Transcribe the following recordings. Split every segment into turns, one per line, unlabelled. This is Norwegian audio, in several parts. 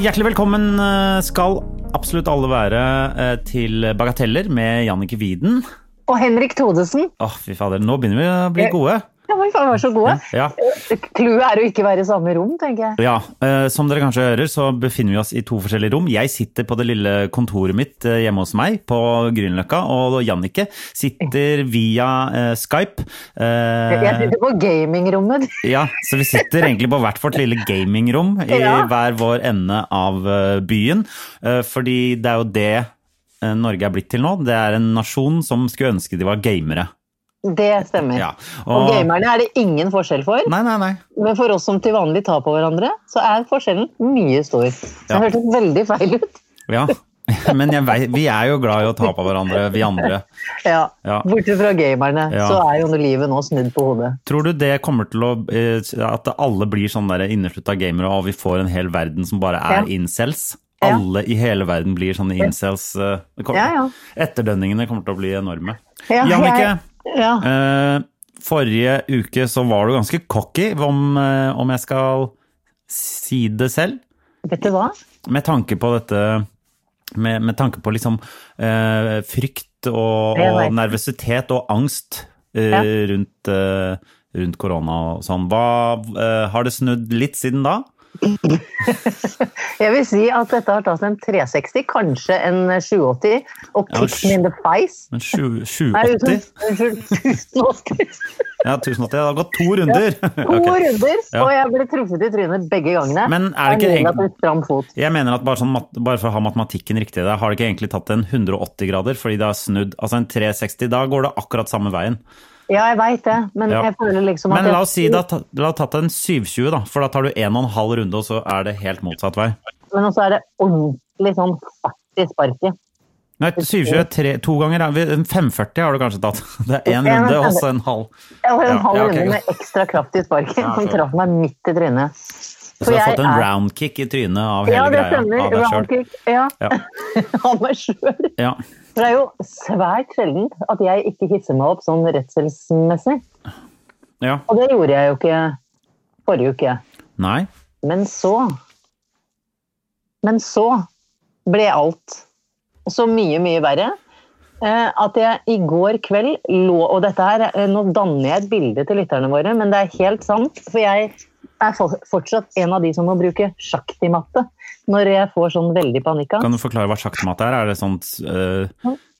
Hjertelig velkommen eh, skal absolutt alle være eh, til Bagateller med Jannicke Wieden.
Og Henrik Thodesen.
Åh, fy fader, nå begynner vi å bli gode.
Ja, men faen, var så gode.
Ja,
Clouet er å ikke være i samme rom, tenker jeg.
ja. eh, Som dere kanskje hører, så befinner vi oss i to forskjellige rom. Jeg sitter på det lille kontoret mitt eh, hjemme hos meg på Grünerløkka, og Jannicke sitter via eh, Skype. Eh,
Jeg sitter på gamingrommet.
Ja, så vi sitter egentlig på hvert vårt lille gamingrom i
Ja.
hver vår ende av eh, byen. eh, Fordi det er jo det eh, Norge er blitt til nå. Det er en nasjon som skulle ønske de var gamere.
Det stemmer.
Ja,
Mm. Og
og-
gamerne er det ingen forskjell for,
Nei, nei, nei.
men for oss som til vanlig tar på hverandre, så er forskjellen mye stor. Så
Ja.
det hørtes veldig feil ut.
Ja. Men jeg vei, vi er jo glad i å ta på hverandre, vi andre.
Ja.
Ja.
Bortsett fra gamerne,
Ja.
så er jo livet nå snudd på hodet.
Tror du det kommer til å eh, At alle blir sånn der inneslutta gamere, og vi får en hel verden som bare er
Ja.
incels?
Ja.
Alle i hele verden blir sånne incels. eh, det kommer-
Ja, ja.
Etterdønningene kommer til å bli enorme.
Ja,
Jannicke,
jeg- ja.
eh, forrige uke så var du ganske cocky, om, eh, om jeg skal si det selv.
Vet du hva?
Med tanke på dette Med, med tanke på liksom eh, frykt og,
Jeg vet.
og nervøsitet og angst eh,
Ja.
rundt, eh, rundt korona og sånn. Hva, eh, har det snudd litt siden da?
Jeg vil si at dette har tatt en 360, kanskje en 780, og
Ja, men
kick me in the face.
Men sju-
Nei,
780?
Unnskyld, 1080.
Ja, 1080. Det har gått to runder!
To
Ok.
runder,
Ja.
og jeg ble truffet i trynet begge gangene.
Men er det ikke
Jeg mener
egentlig-
at det er stram fot.
Jeg mener at bare, sånn, mat- bare for å ha matematikken riktig, der, har det ikke egentlig tatt en 180 grader, fordi det har snudd. Altså en 360, da går det akkurat samme veien.
Ja, jeg veit det, men
Ja.
jeg føler liksom at
Men
jeg-
la oss si det har tatt- det har tatt en 720, da, for da tar du en og en halv runde, og så er det helt motsatt vei.
Men også er det ordentlig sånn fart i sparket.
Nei, 720 tre, to ganger, ja. en 540 har du kanskje tatt. Det er en
En
runde,
runde.
og så en halv.
Jeg var en
Ja,
halv
ja, ok,
runde
godt.
med ekstra kraft i sparket
Ja,
som
så-
traff meg midt i trynet.
Så du har fått en round kick i trynet av hele
Ja, det
greia.
stemmer.
Av deg selv.
Roundkick. Ja.
Ja.
Av meg sjøl.
Ja.
For det er jo svært sjelden at jeg ikke hisser meg opp sånn redselsmessig.
ja.
Og det gjorde jeg jo ikke forrige uke.
Nei.
Men så Men så ble alt så mye, mye verre. eh, At jeg i går kveld lå Og dette her, eh, nå danner jeg et bilde til lytterne våre, men det er helt sant. For jeg er for- fortsatt en av de som må bruke sjakktimatte når jeg får sånn veldig panikk.
Kan du forklare hva sjakkmatte er? Er det sånn uh,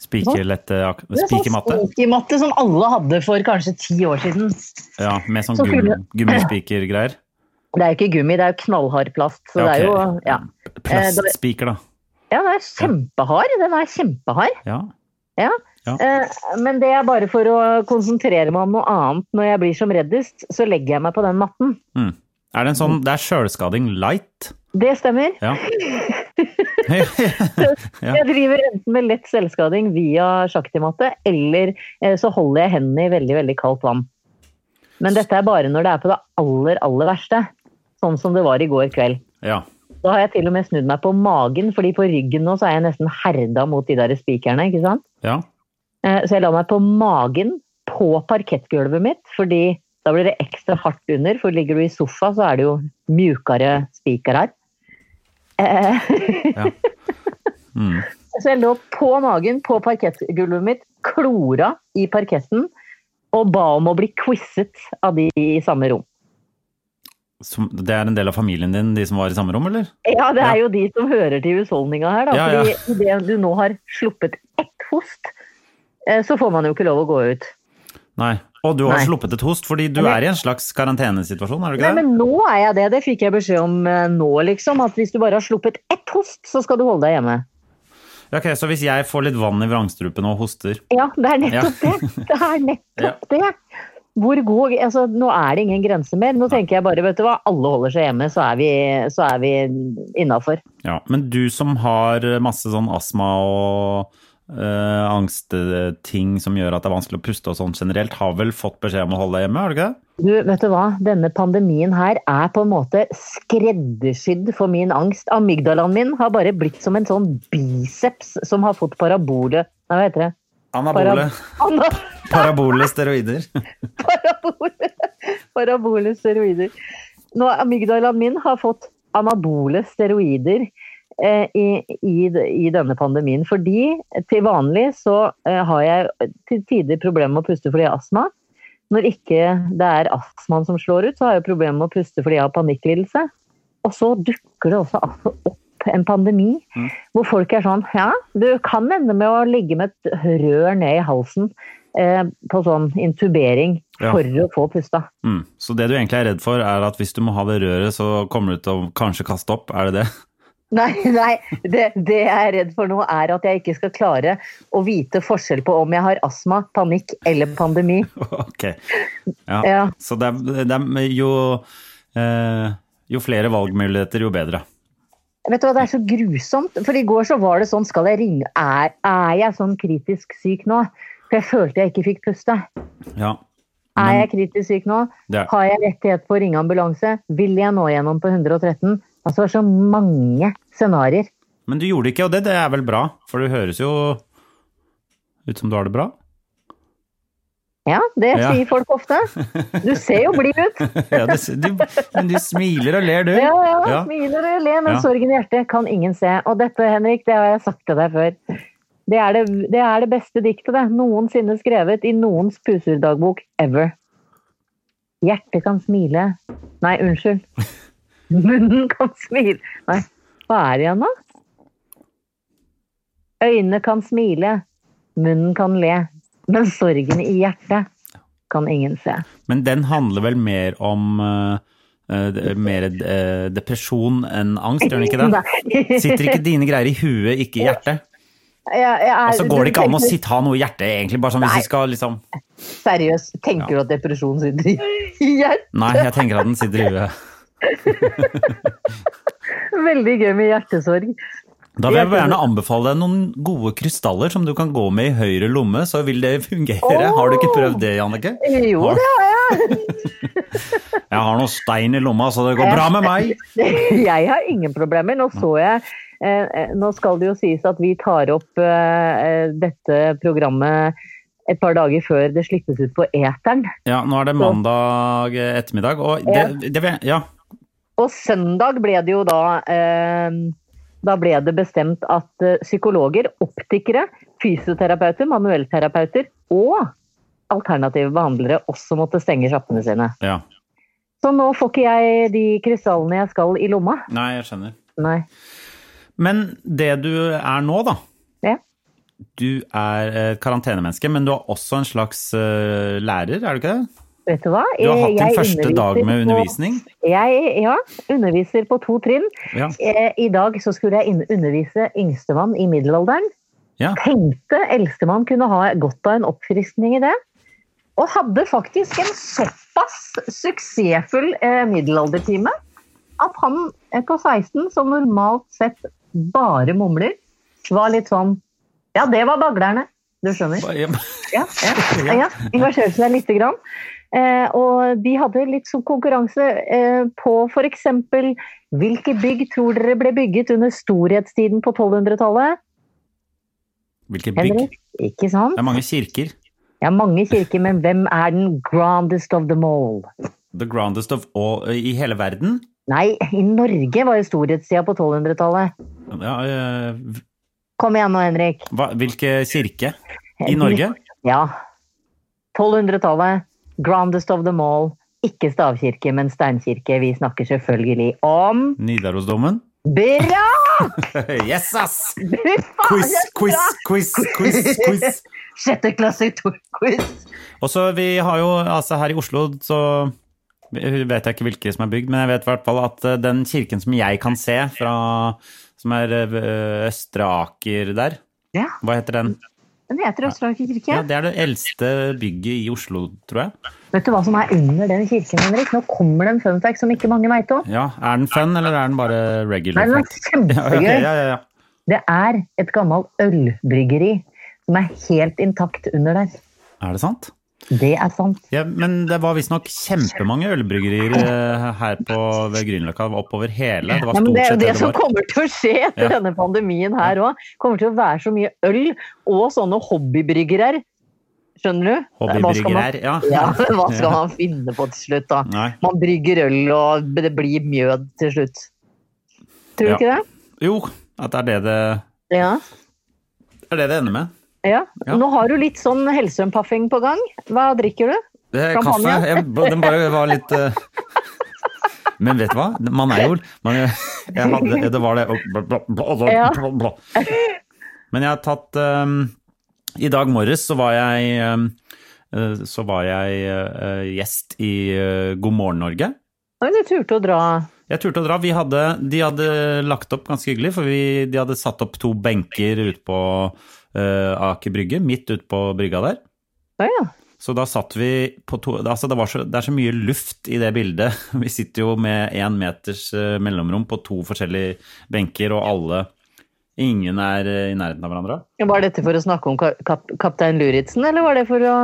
spikerlette ak- Spikermatte?
Sånn spikermatte som alle hadde for kanskje ti år siden.
Ja, med sånn
Så
gum,
kunne- Eh,
gummispikergreier?
Det er jo ikke gummi, det er jo knallhard plast. Så det
Ja,
er jo
ok.
ja.
Plastspiker, da.
ja, den er kjempehard. Den er kjempehard.
Ja.
Ja.
Ja.
Eh, Men det er bare for å konsentrere meg om noe annet. Når jeg blir som reddest, så legger jeg meg på den matten.
Mm. Er det en sånn Det er sjølskading light?
Det stemmer.
Ja. ja.
Jeg driver enten med lett selvskading via sjakktimatte, eller eh, så holder jeg hendene i veldig, veldig kaldt vann. Men dette er bare når det er på det aller, aller verste. Sånn som det var i går kveld.
ja.
Da har jeg til og med snudd meg på magen, fordi på ryggen nå så er jeg nesten herda mot de der spikerne, ikke sant?
ja.
Eh, Så jeg la meg på magen på parkettgulvet mitt, fordi da blir det ekstra hardt under. For ligger du i sofa, så er det jo mjukere spiker her. Eh,
Mm.
Så jeg lå på magen på parkettgulvet mitt, klora i parketten, og ba om å bli quizet av de i samme rom.
Som, det er en del av familien din, de som var i samme rom, eller?
Ja, det
Ja.
er jo de som hører til husholdninga her, da.
Ja, ja.
Fordi idet du nå har sluppet ett host, eh, så får man jo ikke lov å gå ut.
Nei. Og du har
Nei.
sluppet et host, fordi du
Eller-
er i en slags karantenesituasjon, er du
Nei,
ikke det?
men nå er jeg det. Det fikk jeg beskjed om eh, nå, liksom. At hvis du bare har sluppet ett host, så skal du holde deg hjemme.
Ok, Så hvis jeg får litt vann i vrangstrupen og hoster
Ja, det er nettopp
Ja.
det. Det er nettopp det. Hvor god, altså, nå er det ingen grense mer. Nå tenker jeg bare, vet du hva, alle holder seg hjemme, så er vi, så er vi innafor.
ja. Men du som har masse sånn astma og eh, angstting som gjør at det er vanskelig å puste og sånn generelt, har vel fått beskjed om å holde deg hjemme, har du ikke det?
Du, vet du hva, denne pandemien her er på en måte skreddersydd for min angst. Amygdalaen min har bare blitt som en sånn biceps som har fått parabole Nei, hva heter det?
Anabole.
Ana-
Parabole steroider.
parabole, parabole steroider. Nå, amygdalaen min har fått anabole steroider eh, i, i, i denne pandemien. Fordi til vanlig så eh, har jeg til tider problemer med å puste fordi jeg har astma. Når ikke det er astmaen som slår ut, så har jeg problemer med å puste fordi jeg har panikklidelse. Og så dukker det også altså opp en pandemi hvor folk er sånn Ja, du kan ende med å ligge med et rør ned i halsen eh, på sånn intubering
Ja.
for å få pusta.
Mm. Så det du egentlig er redd for, er at hvis du må ha det røret, så kommer du til å kanskje kaste opp, er det det?
Nei, nei. Det, det jeg er redd for nå, er at jeg ikke skal klare å vite forskjell på om jeg har astma, panikk eller pandemi.
Ok.
Ja.
Ja. Så det er, det er jo eh, Jo flere valgmuligheter, jo bedre.
Vet du hva, Det er så grusomt. For i går så var det sånn Skal jeg ringe Er, er jeg sånn kritisk syk nå? For jeg følte jeg ikke fikk puste.
Ja.
Er
Men-
jeg kritisk syk nå?
Det er-
Har jeg rettighet på å ringe ambulanse? Vil jeg nå gjennom på 113? Altså, det er så mange scenarioer.
Men du gjorde det ikke, og det, det er vel bra? For du høres jo ut som du har det bra.
Ja, det
Ja.
sier folk ofte. Du ser jo blid ut.
Ja, det, du, men du smiler og ler, du.
Ja, ja,
Ja.
smiler og ler, men
Ja.
sorgen i hjertet kan ingen se. Og dette, Henrik, det har jeg sagt til deg før. Det er det, det, er det beste diktet det, noensinne skrevet i noens pusurdagbok ever. Hjertet kan smile. Nei, unnskyld. Munnen kan smile. Nei, hva er det igjen da? Øynene kan smile. Munnen kan le. Men sorgen i hjertet kan ingen se.
Men den handler vel mer om eh, eh, det- mer eh, depresjon enn angst, gjør den ikke det? Sitter ikke dine greier i huet, ikke i hjertet? Og så Altså, går det ikke an å sitte, ha noe i hjertet, egentlig, bare sånn hvis vi skal liksom
Seriøst, tenker du at depresjon sitter i i hjertet?
Nei, jeg tenker at den sitter i huet.
Veldig gøy med hjertesorg.
Da vil jeg gjerne anbefale deg noen gode krystaller som du kan gå med i høyre lomme, så vil det fungere. Har du ikke prøvd det, Jannicke?
Jo,
Har-
det har jeg.
Jeg har noen stein i lomma, så det går bra med meg.
Jeg har ingen problemer. Nå så jeg eh, eh, Nå skal det jo sies at vi tar opp eh, eh, dette programmet et par dager før det slippes ut på eteren.
Ja, nå er det mandag ettermiddag, og det, det vil jeg Ja.
Og søndag ble det jo da eh, Da ble det bestemt at eh, psykologer, optikere, fysioterapeuter, manuellterapeuter og alternative behandlere også måtte stenge sjappene sine.
ja.
Så nå får ikke jeg de krystallene jeg skal i lomma.
Nei, jeg skjønner.
Nei.
Men det du er nå, da.
Ja.
Du er et karantenemenneske, men du er også en slags eh, lærer, er du ikke det?
Vet du hva?
Du har hatt
Eh, Jeg
din første
underviser
dag med
på-
undervisning.
Jeg ja, underviser på to trinn.
Ja.
Eh, I dag så skulle jeg inn- undervise yngstemann i middelalderen.
Ja.
Tenkte eldstemann kunne ha godt av en oppfriskning i det. Og hadde faktisk en såpass suksessfull eh, middelaldertime at han eh, på 16, som normalt sett bare mumler, var litt sånn Ja, det var baglerne. Du skjønner. Ja, ja, ja. engasjerte seg lite grann. Eh, og de hadde litt sånn konkurranse eh, på f.eks.: Hvilke bygg tror dere ble bygget under storhetstiden på 1200-tallet?
Hvilke bygg?
Henrik? Ikke sant?
Det er mange kirker.
Ja, mange kirker, men hvem er den grandest of them all?
The grandest of all eh, i hele verden.
Nei, i Norge var jo storhetstida på 1200-tallet.
Ja, eh,
Kom igjen nå, Henrik.
hva, hvilke kirke? I Norge?
Ja. 1200-tallet. Grandest of them all. Ikke stavkirke, men steinkirke. Vi snakker selvfølgelig om
Nidarosdomen?
Bra!
Yes, ass!
Fy faen,
Quiz,
det er
quiz,
bra!
quiz, quiz, quiz.
Sjette klasse to- quiz.
Og så vi har jo, altså her i Oslo så Hun vet jeg ikke hvilke som er bygd, men jeg vet i hvert fall at eh, den kirken som jeg kan se, fra, som er eh, Østre Aker der,
Ja,
hva heter den?
Den heter Østlandet kirke.
Ja, Det er det eldste bygget i Oslo, tror jeg.
Vet du hva som er under den kirken, Henrik? Nå kommer det en fun fact som ikke mange veit om.
Ja, Er den fun, eller er den bare
Nei,
regular?
den er
fact? Ja, ok,
kjempegøy.
ja, ja, ja.
Det er et gammelt ølbryggeri som er helt intakt under der.
Er det sant?
Det er sant.
Ja, men det var visstnok kjempemange ølbryggerier eh, her på, ved Grünerløkka oppover hele. Det var
Ja, men
stort
det er jo
sett
det
det det
som
var.
kommer til å skje etter
Ja.
denne pandemien her òg. Kommer til å være så mye øl og sånne hobbybryggere. Skjønner du? Hva skal man-
Hobbybryggerier, ja.
Ja, men hva skal man finne på til slutt, da?
Nei.
Man brygger øl, og det blir mjød til slutt. Tror du
Ja.
ikke det?
Jo, at det er det det,
Ja.
det er det det ender med.
ja.
Ja.
Nå har du litt sånn helsømpaffing på gang. Hva drikker du?
Det er
Champagne?
kaffe. Jeg, den bare var litt eh, Men vet du hva? Man er jo man, er- jeg hadde, Det var det og bla, bla, bla, bla,
Ja.
bla, bla. Men jeg har tatt eh, I dag morges så var jeg eh, eh, så var jeg eh, gjest i eh, God morgen Norge.
Oi, du turte å dra.
Jeg turte å dra. Vi hadde, de hadde lagt opp ganske hyggelig, for vi, de hadde satt opp to benker ute på eh, Aker Brygge, midt ute på brygga der.
Å ja.
Så da satt vi på to altså det, var så, det er så mye luft i det bildet. Vi sitter jo med én meters eh, mellomrom på to forskjellige benker, og alle Ingen er eh, i nærheten av hverandre.
Var dette for å snakke om ka- kap kaptein Luritzen, eller var det for å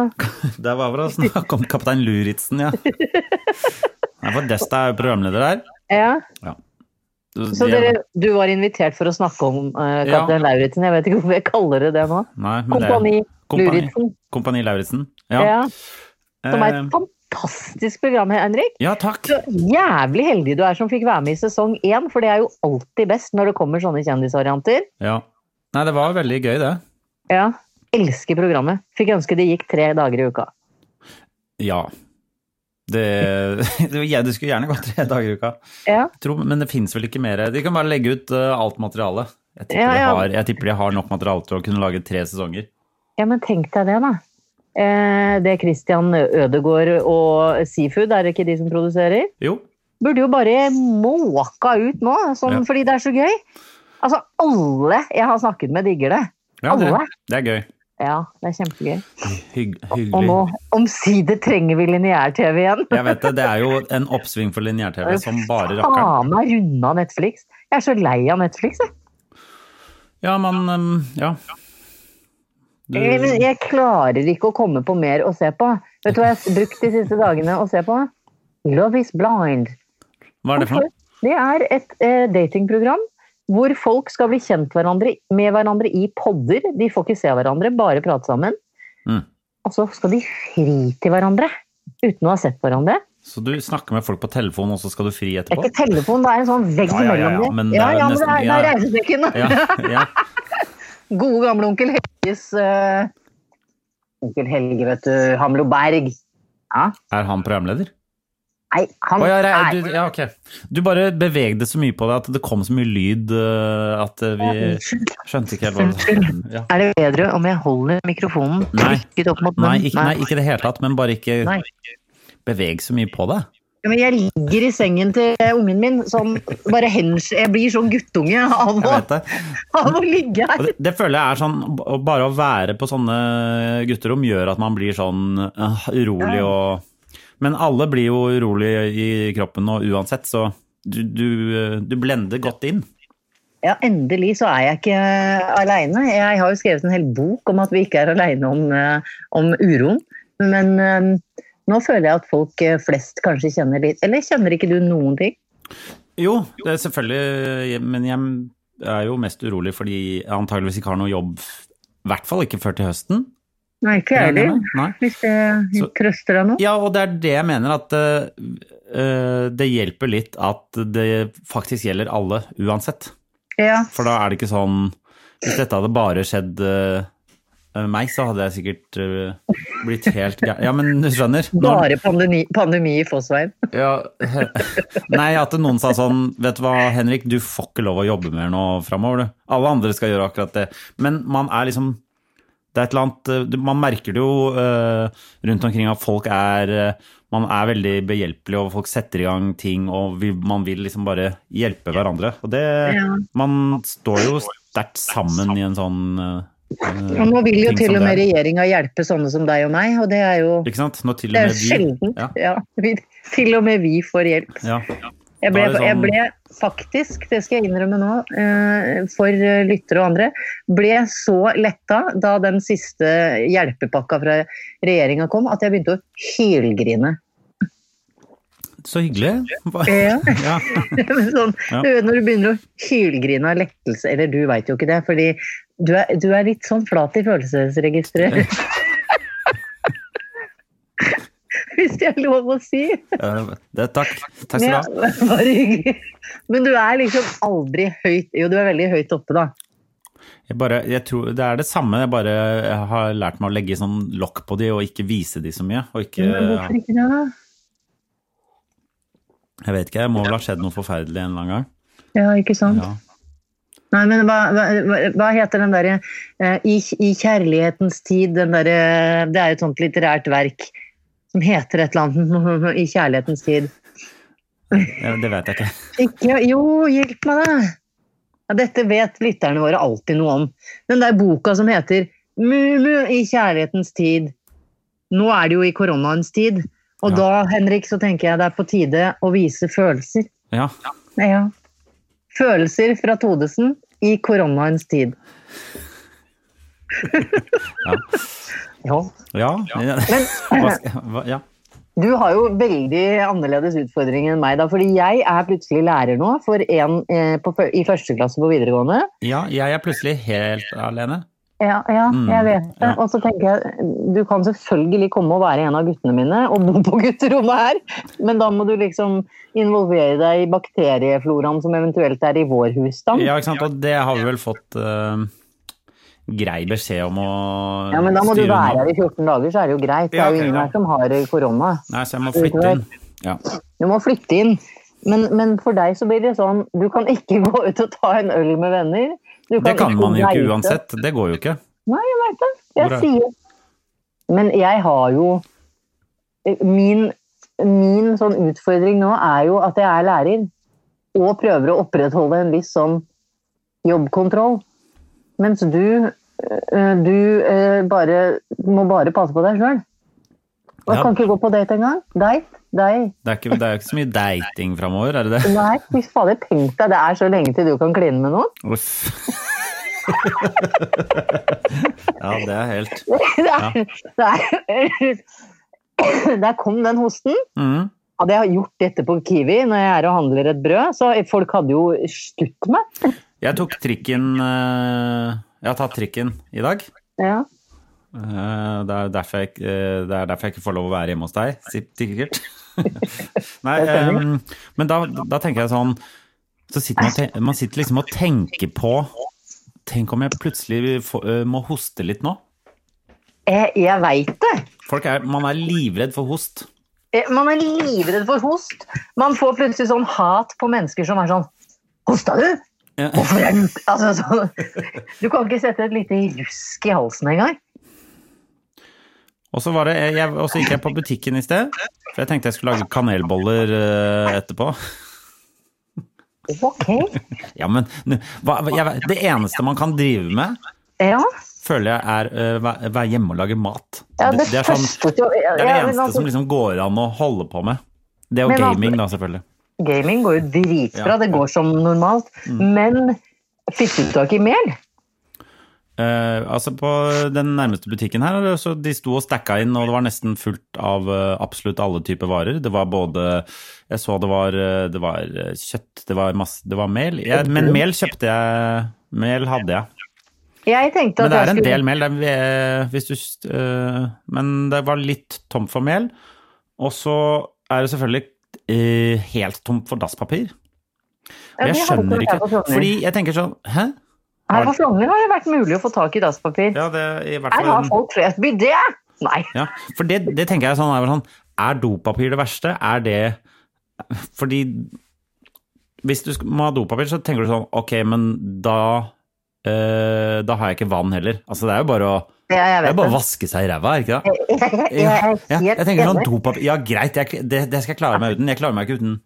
Det var vel å snakke om kaptein Luritzen, ja. Nei, for Desta er jo programleder der.
Ja.
Ja.
Så dere, du var invitert for å snakke om eh, kaptein Lauritzen. Jeg vet ikke hvorfor jeg kaller det det nå.
Nei, men det er-
Kompani
Kompani.
Luritzen.
Kompani Lauritzen.
Ja.
Ja.
Som er
Eh,
et fantastisk program, Henrik.
Ja, takk.
Så jævlig heldig du er som fikk være med i sesong én, for det er jo alltid best når det kommer sånne kjendisvarianter.
Ja. Nei, det var veldig gøy, det.
Ja. Elsker programmet. Fikk ønske det gikk tre dager i uka.
Ja. Det, det, jeg, det skulle gjerne gått tre dager i uka,
Ja.
Jeg tror, men det fins vel ikke mer. De kan bare legge ut eh, alt materialet. Jeg tipper,
Ja,
De
ja.
har, jeg tipper de har nok materiale til å kunne lage tre sesonger.
ja, men tenk deg det, da. Eh, det Christian Ødegaard og Seafood, er det ikke de som produserer?
Jo.
Burde jo bare måka ut nå, sånn,
Ja.
fordi det er så gøy. Altså, alle jeg har snakket med, digger det.
Ja, det,
Alle?
det er gøy.
Ja, det er kjempegøy.
Hygg,
Og nå,
hyggelig.
omsider trenger vi lineær-TV igjen.
Jeg vet det. Det er jo en oppsving for lineær-TV som bare rakkeren.
Faen meg runda Netflix. Jeg er så lei av Netflix, jeg.
Ja, man em, Ja. Du,
Jeg, Eh, men jeg klarer ikke å komme på mer å se på. Vet du hva jeg har brukt de siste dagene å se på? Love is blind.
hva er det for noe?
Det er et eh, datingprogram hvor folk skal bli kjent hverandre, med hverandre i podder. De får ikke se hverandre, bare prate sammen.
Mm.
Og så skal de fri til hverandre uten å ha sett hverandre.
Så du snakker med folk på telefon, og så skal du fri
Det er
etterpå?
ikke telefon, det er en sånn vegg
Ja, ja, ja, ja,
mellom
men
dem.
det
Ja,
er
ja, men det
nesten-
er, det
ja.
er reisesekken.
Ja, ja.
Gode gamle onkel Helges eh, Onkel Helge, vet du. Hamlo Berg. Ja.
Er han programleder?
Nei, han
Å, ja, det er-
er
du, ja, ok. Du bare bevegde så mye på det at det kom så mye lyd eh, at eh, vi
Unnskyld.
skjønte ikke helt hva det ja.
Er det bedre om jeg holder mikrofonen
Nei.
trykket opp mot
Nei,
munnen?
ikke, nei, ikke i det hele tatt, men bare ikke
Nei.
beveg så mye på det.
Ja, Men jeg ligger i sengen til ungen min som bare hens... Jeg blir sånn guttunge av
Jeg
å,
vet det.
av å ligge
Og
her.
det, det føler jeg er sånn b- Bare å være på sånne gutterom gjør at man blir sånn eh, urolig og Men alle blir jo urolig i kroppen og uansett, så du, du, eh, du blender godt inn.
Ja, endelig så er jeg ikke aleine. Jeg har jo skrevet en hel bok om at vi ikke er aleine om, eh, om uroen. Men eh, nå føler jeg at folk eh, flest kanskje kjenner litt Eller kjenner ikke du noen ting?
Jo, det er selvfølgelig Men jeg er jo mest urolig fordi jeg antageligvis ikke har noe jobb. I hvert fall ikke før til høsten.
Nei, ikke jeg
regner jeg
heller.
med. Nei.
Hvis det
Så-
trøster deg nå.
Ja, og det er det jeg mener at eh, eh, det hjelper litt at det faktisk gjelder alle uansett.
Ja.
For da er det ikke sånn Hvis dette hadde bare skjedd eh, eh, meg, så hadde jeg sikkert eh, blitt helt gæren. Ja, men du skjønner? Når-
Bare pandemi, pandemi i Fossveien.
ja. Nei, at noen sa sånn Vet du hva, Henrik, du får ikke lov å jobbe mer nå framover, du. Alle andre skal gjøre akkurat det. Men man er liksom Det er et eller annet eh, du- Man merker det jo eh, rundt omkring at folk er eh, Man er veldig behjelpelig, og folk setter i gang ting, og vi, man vil liksom bare hjelpe hverandre. Og det Man står jo sterkt sammen i en sånn eh,
Og nå vil jo
ting
til
som
og med
det er.
regjeringa hjelpe sånne som deg og meg, og det er jo,
Ikke sant? Når til
det
og
er jo
med vi
sjelden.
Ja,
Ja, vi, til og med vi får hjelp.
ja.
Jeg
Da
ble,
er det sånn-
jeg ble faktisk, det skal jeg innrømme nå, eh, for eh, lyttere og andre, ble så letta da den siste hjelpepakka fra regjeringa kom, at jeg begynte å hylgrine.
Så hyggelig.
Ja.
Ja.
sånn,
Ja.
du vet, når du begynner å hylgrine av lettelse, eller du veit jo ikke det, fordi du er, du er litt sånn flat i følelsesregisteret. Hvis det er lov å si.
Eh, Det, takk. Takk skal du ha.
Ja, bare hyggelig. Men du er liksom aldri høyt Jo, du er veldig høyt oppe, da.
Jeg bare, jeg tror, det er det samme, jeg bare har lært meg å legge sånn lokk på de og ikke vise de så mye. Og ikke,
Men hvorfor ikke det, da?
jeg vet ikke, jeg må vel ha skjedd noe forferdelig en eller annen gang.
Ja, ikke sant?
Ja.
Nei, men hva, hva, hva heter den derre eh, i, I kjærlighetens tid, den derre Det er jo et sånt litterært verk som heter et eller annet I kjærlighetens tid.
Eh, Det vet jeg ikke.
Ikke Jo, hjelp meg, da! Ja, dette vet lytterne våre alltid noe om. Den der boka som heter Mumu i kjærlighetens tid. Nå er det jo i koronaens tid. Og
Ja.
da, Henrik, så tenker jeg det er på tide å vise følelser.
Ja.
Ja. Følelser fra Todesen i koronaens tid. ja.
Ja. Hva skal, hva, ja.
Du har jo veldig annerledes utfordring enn meg, da, fordi jeg er plutselig lærer nå for en eh, på, fø- i første klasse på videregående.
ja, jeg er plutselig helt alene.
Ja, ja
Mm,
jeg vet det.
ja.
Og så tenker jeg, du kan selvfølgelig komme og være en av guttene mine og bo på gutterommet her, men da må du liksom involvere deg i bakteriefloraen som eventuelt er i vår husstand.
Ja, ikke sant, og det har vi vel fått eh, grei beskjed om å
Ja, men da må du
styre
være
unna.
her i 14 dager, så er det jo greit. Det
Ja,
er
ok,
jo ingen
ja.
her som har korona.
Nei, så jeg må flytte inn. Ja.
Du må flytte inn. Men, men for deg så blir det sånn, du kan ikke gå ut og ta en øl med venner. Du
Det kan
ikke
man jo ikke
reise.
uansett. Det går jo ikke.
Nei, jeg veit det.
Hvor
Jeg
er-
sier Men jeg har jo eh, min, min sånn utfordring nå er jo at jeg er lærer og prøver å opprettholde en viss sånn jobbkontroll. Mens du, eh, du eh, bare må bare passe på deg sjøl. Og jeg
Ja.
kan ikke gå på date engang. Date, date.
Det er ikke, det er ikke så mye dating framover, er det det?
Nei, fy fader, tenk deg, det er så lenge til du kan kline med noen.
Uff. ja, det er helt
Det er, det er, der kom den hosten.
Mhm.
Hadde jeg gjort dette på Kiwi når jeg er og handler et brød, så folk hadde jo skutt meg.
Jeg tok trikken eh, Jeg har tatt trikken i dag.
Ja.
Eh, Det er derfor jeg, eh, det er derfor jeg ikke får lov å være hjemme hos deg, si- sikkert. Nei,
Det stemmer.
em, men da, da tenker jeg sånn så sitter man, te- man sitter liksom og tenker på Tenk om jeg plutselig får, eh, må hoste litt nå?
Jeg, Eh, jeg veit det.
Folk er, man er livredd for host.
Eh, Man er livredd for host. Man får plutselig sånn hat på mennesker som er sånn Hosta du?
Ja.
Hvorfor er den altså, sånn. Du kan ikke sette et lite rusk i halsen engang.
Og så, var det, jeg, og så gikk jeg på butikken i sted, for jeg tenkte jeg skulle lage kanelboller eh, etterpå.
Ok.
Ja, men nu- hva, hva- jeg, Det eneste man kan drive med,
Ja.
føler jeg er eh, vær- være hjemme og lage mat.
ja det,
er sånn,
første til å- ja,
det er det
ja, men
eneste
altså-
som liksom går an å holde på med. Det er jo
Men hva-
gaming, da, selvfølgelig.
Gaming går jo dritbra,
Ja. Mm.
det går som normalt. Men fikk du tak i mel?
Eh, altså På den nærmeste butikken her, så de sto og stacka inn, og det var nesten fullt av eh, absolutt alle typer varer. Det var både Jeg så det var, eh, det var eh, kjøtt, det var, masse, det var mel. Jeg, men mel kjøpte jeg. Mel hadde jeg.
Jeg tenkte
Men
at
det er
jeg
en
skulle...
del mel. Det er, eh, hvis du, øh, men det var litt tomt for mel. Og så er det selvfølgelig øh, helt tomt for dasspapir. Og
Ja,
jeg
det har vi
skjønner
ikke
ikke
vært her på Frogner.
Fordi jeg tenker sånn Hæ?
Her på Frogner har det vært mulig å få tak i dasspapir.
Ja, det i hvert
Her har
fall
folk flest bidé! Nei.
ja, For det, det tenker jeg sånn er vel sånn Er dopapir det verste? Er det Fordi hvis du sk- må ha dopapir, så tenker du sånn Ok, men da eh, da har jeg ikke vann heller. Altså, det er jo bare å
Ja, jeg
det
vet
er bare å vaske seg i ræva, er det ikke det?
Jeg er
Ja,
helt
ja, jeg tenker sånn
enig.
dopapir Ja, greit, jeg, det, det skal jeg klare meg uten. Jeg klarer meg ikke uten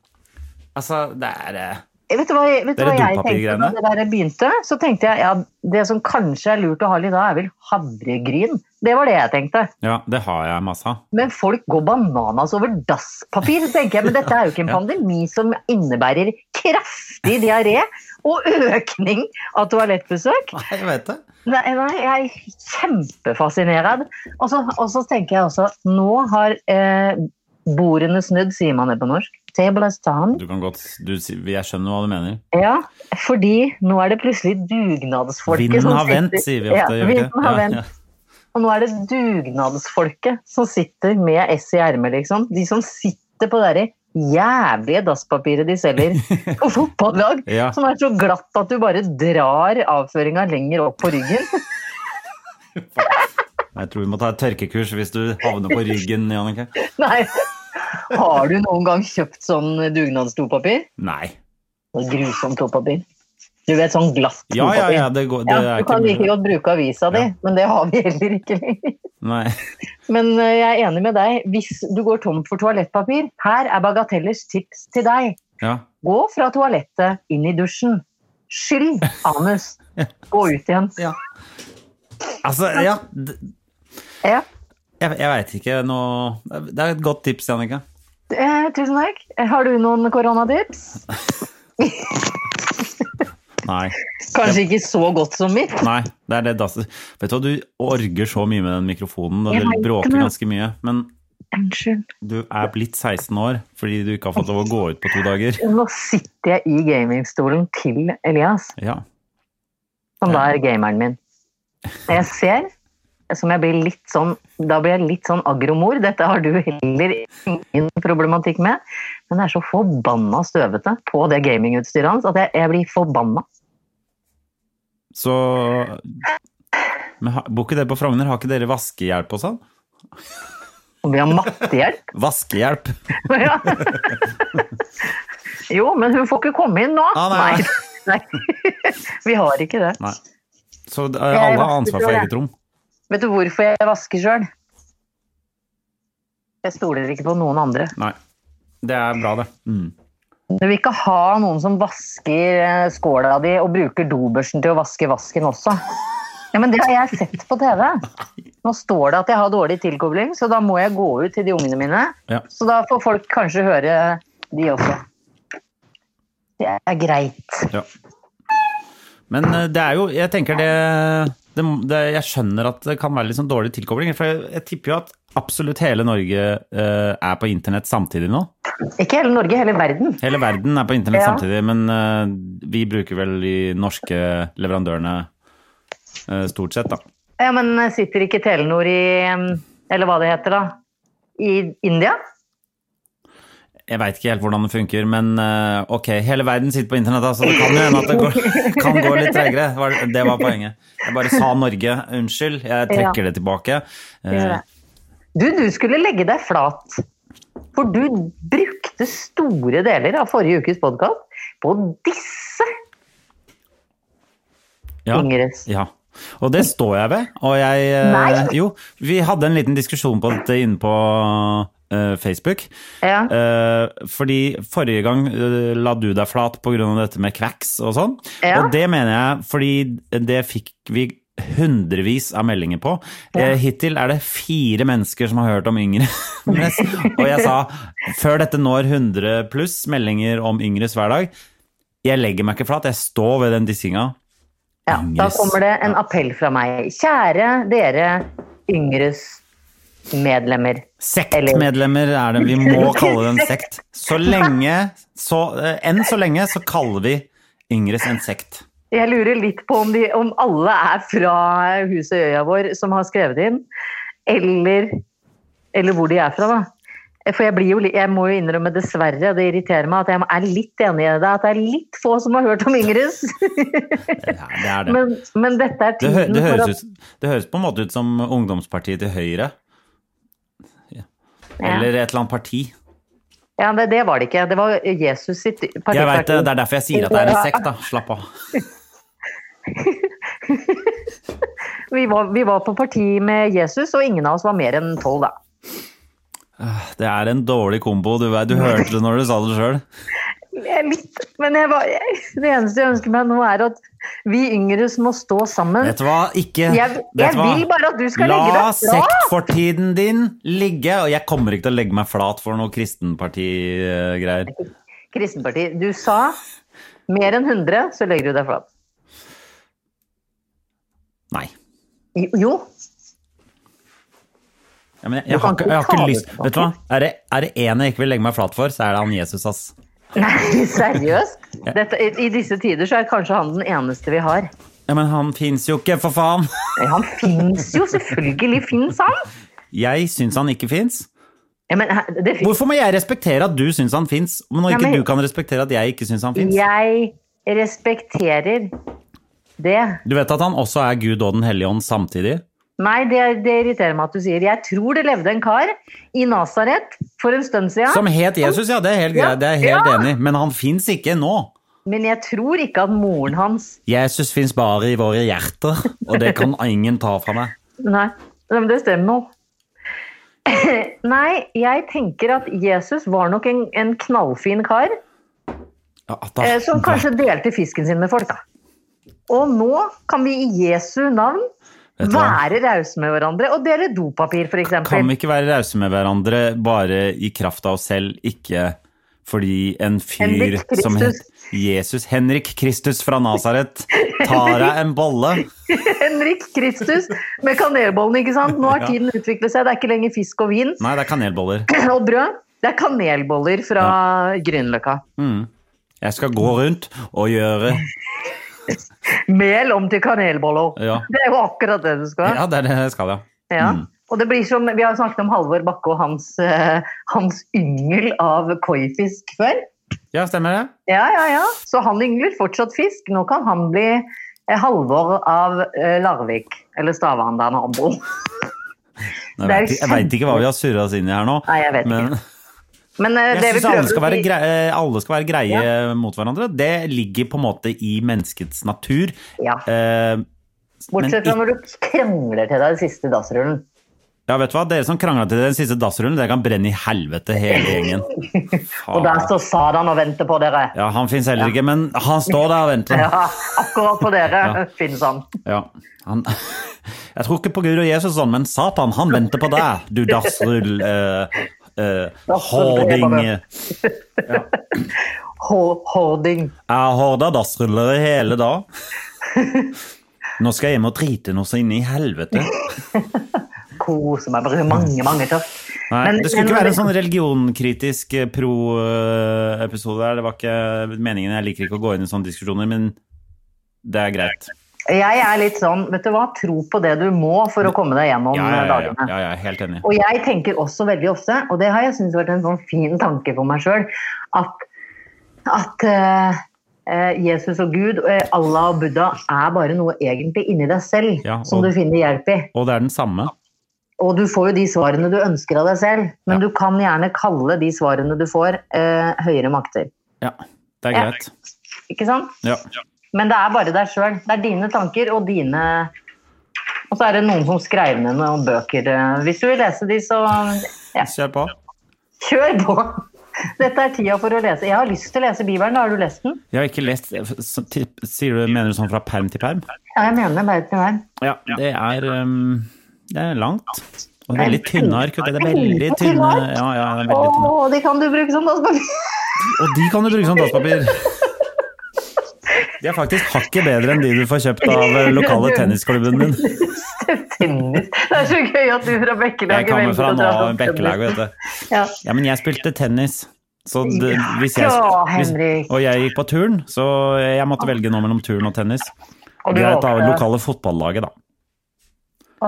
Altså, det er eh,
Vet du hva, vet du
Det er det
hva jeg tenkte
dopapirgreiene.
da det der begynte? Så tenkte jeg ja, det som kanskje er lurt å ha litt av, er vel havregryn. Det var det jeg tenkte.
Ja, det har jeg masse av.
Men folk går bananas over dasspapir, så tenker jeg. Men dette er jo ikke en pandemi som innebærer kraftig diaré og økning av toalettbesøk.
Nei, Jeg vet det.
Nei, nei, jeg er kjempefascinert. Og så, og så tenker jeg også, nå har eh, bordene snudd, sier man det på norsk. Table has turned.
Du kan godt du, Jeg skjønner hva du mener.
Ja, fordi nå er det plutselig dugnadsfolket
Vinden
som
har vendt,
sitter-
sier vi ofte.
sånn Ja,
gjør vi ikke det?
vinden har
Ja,
vendt.
ja.
Og nå er det dugnadsfolket som sitter med ess i ermet, liksom. De som sitter på det derre jævlige dasspapiret de selger på fotballag.
Ja.
Som er så glatt at du bare drar avføringa lenger opp på ryggen.
Jeg tror vi må ta et tørkekurs hvis du havner på ryggen, Jannicke.
Nei. Har du noen gang kjøpt sånn dugnadsdopapir?
Nei.
Grusomt dopapir. Du vet, sånn glatt
Ja, ja,
dopapir.
ja, det, går, det
Ja,
er
du kan like
ikke
godt bruke avisa di,
Ja.
men det har vi heller ikke lenger.
Nei.
Men eh, jeg er enig med deg. Hvis du går tom for toalettpapir, her er Bagatellers tips til deg.
Ja.
Gå fra toalettet inn i dusjen. Skyll anus. Gå ut igjen.
Altså, ja d-
Ja.
Jeg, jeg veit ikke noe Det er et godt tips, Jannicke.
Eh, tusen takk. Eh, Har du noen koronatips?
Nei.
Kanskje ikke så godt som mitt.
Nei, det er det dasset. Vet du hva, du orger så mye med den mikrofonen, og
Jeg
du
vet
bråker
det.
ganske mye. Men
Unnskyld.
du er blitt 16 år fordi du ikke har fått lov å gå ut på to dager.
Nå sitter jeg i gamingstolen til Elias,
Ja.
som da er gameren min. Og Jeg ser, som jeg blir litt sånn, da blir jeg litt sånn agromor. Dette har du heller ingen problematikk med. Men det er så forbanna støvete på det gamingutstyret hans at jeg, jeg blir forbanna.
Så men ha- Bor ikke dere på Frogner? Har ikke dere vaskehjelp og sånn?
Og vi har mattehjelp.
Vaskehjelp!
Ja. Jo, men hun får ikke komme inn nå.
Ah, nei, nei.
Nei. Vi har ikke det.
Nei. Så eh, alle har ansvar for eget rom.
Vet du hvorfor jeg vasker sjøl? Jeg stoler ikke på noen andre.
Nei. Det er bra, det. Mm.
Du vil ikke ha noen som vasker eh, skåla di og bruker dobørsten til å vaske vasken også. Ja, men Det har jeg sett på TV. Nå står det at jeg har dårlig tilkobling, så da må jeg gå ut til de ungene mine.
Ja.
Så da får folk kanskje høre de også. Det er greit.
Ja. Men eh, det er jo Jeg tenker det, det, det Jeg skjønner at det kan være litt sånn dårlig tilkobling. For jeg, jeg tipper jo at absolutt hele Norge eh, er på internett samtidig nå.
Ikke hele Norge, hele verden.
Hele verden er på internett
Ja.
samtidig, men eh, vi bruker vel de norske leverandørene eh, stort sett, da.
Ja, Men eh, sitter ikke Telenor i em, Eller hva det heter, da. I India?
Jeg veit ikke helt hvordan det funker, men eh, ok, hele verden sitter på internett, da, så det kan jo hende at det går, kan gå litt tregere. Det var- Det var poenget. Jeg bare sa Norge. Unnskyld, jeg trekker det tilbake. Eh,
Du, du skulle legge deg flat. For du brukte store deler av forrige ukes podkast på å disse
ja.
Ingres.
Ja, og det står jeg ved. Og jeg eh,
Nei.
Jo, vi hadde en liten diskusjon på dette inne på eh, Facebook.
Ja.
Eh, fordi forrige gang eh, la du deg flat pga. dette med kvacks og sånn.
Ja.
Og det mener jeg fordi det fikk vi hundrevis av meldinger på. Eh, hittil er det fire mennesker som har hørt om yngre. Mens- og jeg sa før dette når 100 pluss meldinger om yngres hver dag, jeg legger meg ikke flat, jeg står ved den dissinga.
ja. Da
Yngres.
kommer det en appell fra meg. Kjære dere Yngres medlemmer.
Sektmedlemmer er det. Vi må kalle det en sekt. Så lenge så, eh, Enn så lenge så kaller vi Yngres en sekt.
Jeg lurer litt på om, de, om alle er fra huset i øya vår som har skrevet inn, eller, eller hvor de er fra, da. For jeg, blir jo, li- jeg må jo innrømme dessverre, og det irriterer meg, at jeg er litt enig i deg, at det er litt få som har hørt om Ingrids.
Ja, det er det.
Men, men dette er
Det,
tiden
hø det,
for
høres
at
ut, det høres på en måte ut som ungdomspartiet til Høyre. Ja. Eller et eller annet parti.
Ja, det, det var det ikke. Det var Jesus sitt
Jeg vet det,
partiparti.
det er derfor jeg sier at det er en sekt, da. Slapp av.
vi, var, vi var på parti med Jesus, og ingen av oss var mer enn tolv, da.
Det er en dårlig kombo. Du, vet- du hørte det når du sa det sjøl.
Jeg er Litt, men jeg var, jeg, det eneste jeg ønsker meg nå, er at vi yngre må stå sammen.
Vet du hva? Ikke
Jeg,
vet du
jeg
hva?
vil bare at du skal legge
La
deg fra!
sektfortiden din ligge, og jeg kommer ikke til å legge meg flat for noe kristenparti-greier.
Kristenpartiet, du sa mer enn 100, så legger du deg flat.
Nei.
Jo, Jo,
Ja, men jeg,
Du
jeg,
kan
har, ikke- jeg har
ikke ta
ikke
det
lyst
tilbake.
Vet du hva? Er det, er det en jeg ikke vil legge meg flat for, så er det han Jesus, ass.
nei, seriøst? Dette, i, I disse tider så er kanskje han den eneste vi har.
Ja, men han fins jo ikke, for faen!
Men Han fins jo, selvfølgelig fins han!
Jeg syns han ikke fins.
Ja, men, hæ, det finnes-
Hvorfor må jeg respektere at du syns han fins, når
Ja,
ikke
men-
du kan respektere at jeg ikke syns han fins?
jeg respekterer det.
Du vet at han også er Gud og Den hellige ånd samtidig?
Nei, det, det irriterer meg at du sier. Jeg tror det levde en kar i Nasaret for en stund siden.
Som het Jesus, ja, det er helt
Ja.
greit, det er jeg helt
Ja.
enig i, men han fins ikke nå.
Men jeg tror ikke at moren hans
Jesus fins bare i våre hjerter, og det kan ingen ta fra meg.
Nei, men det stemmer nå. Nei, jeg tenker at Jesus var nok en, en knallfin kar
Ja, at han-
eh, som kanskje delte fisken sin med folk, da. Og nå kan vi i Jesu navn
Vet du hva?
være rause med hverandre og dele dopapir, f.eks.
Kan vi ikke være rause med hverandre bare i kraft av oss selv, ikke fordi en fyr
Henrik Kristus.
som het Jesus Henrik Kristus fra Nasaret tar deg en bolle?
Henrik Kristus med kanelbollene, ikke sant? Nå har tiden utviklet seg, det er ikke lenger fisk og vin
Nei, det er kanelboller.
og brød. Det er kanelboller fra Grünerløkka.
Jeg skal gå rundt og gjøre
Mel om til kanelboller.
Ja.
Det er jo akkurat det du skal.
Ja, det er det jeg skal, ja.
Ja.
Mm.
Og det blir som, Vi har jo snakket om Halvor Bakke og hans, eh, hans yngel av koifisk før.
Ja, stemmer det?
Ja, ja, ja. Så han yngler fortsatt fisk. Nå kan han bli eh, Halvor av eh, Larvik. Eller Stavanger, nabo.
Jeg
Det er
vet, ikke- jeg vet ikke hva vi har surra oss inn i her nå.
Nei, jeg vet
men
Men eh, det
jeg
vi
syns alle,
prøver
skal
å
være
si-
grei- alle skal være greie mot hverandre. Det ligger på en måte i menneskets natur.
Ja.
Eh,
Bortsett fra
men
når du krangler til deg den siste dassrullen.
Ja, vet du hva? Dere som krangla til den siste dassrullen, dere kan brenne i helvete hele gjengen. Ah.
Og der står Sadan og venter på dere.
Ja, han fins heller ikke, men han står der og venter.
Ja, akkurat på dere
Ja.
finnes han.
Ja, han... Jeg tror ikke på Gud og Jesus sånn, men Satan, han venter på deg, du dassrull... Eh, eh, hording Jeg
Ho- Hoarding.
har horda dassruller i hele dag. Nå skal jeg hjem og drite noe så inn i helvete.
Kose meg. Bruker mange, mange tørk.
Nei,
Men-
det skulle
men-
ikke være en sånn religionkritisk eh, pro-episode her. Det var ikke meningen. Jeg liker ikke å gå inn i sånne diskusjoner, men det er greit.
Jeg er litt sånn, vet du hva, tro på det du må for å komme deg gjennom
Ja, ja,
eh,
ja, ja,
dagene.
ja, jeg er helt enig.
Og jeg tenker også veldig ofte, og det har jeg syntes vært en sånn fin tanke for meg sjøl, at, at eh, eh, Jesus og Gud, eh, Allah og Buddha, er bare noe egentlig inni deg selv
Ja, og-
som du finner hjelp i.
Og det er den samme.
Og du får jo de svarene du ønsker av deg selv, men du kan gjerne kalle de svarene du får, eh, høyere makter.
Ja, det er
Ja.
greit.
Ikke sant?
Ja.
Men det er bare deg sjøl. Det er dine tanker og dine Og så er det noen som skrev ned noen bøker. eh, Hvis du vil lese de, så ja,
Kjør på.
kjør på! Dette er tida for å lese. Jeg har lyst til å lese Bibelen. da Har du lest den?
Jeg har ikke lest eh, så- ti- Sier du, mener du sånn fra perm til perm?
Ja, jeg mener det bare til deg.
Ja, det er ehm, Det er langt. Og veldig tynne ark. vet du. Det er veldig tynne Ja, ja, det er veldig tynne.
Å, de kan du bruke som dasspapir!
Og de kan du bruke som dasspapir. De er faktisk hakket bedre enn de du får kjøpt av eh, lokale tennisklubben min.
Tennis. Det er så gøy at du fra
Jeg
Bekkelaget
kommer fra
å
nå
dra opp
Bekkelaget, vet du.
tennis. Ja.
Ja, men jeg spilte tennis. Så det, hvis jeg,
Ja,
hvis,
Henrik.
og jeg gikk på turn, så jeg måtte velge noe mellom turn og tennis.
Og du
Greit, da.
valgte-
Lokale fotballaget, da.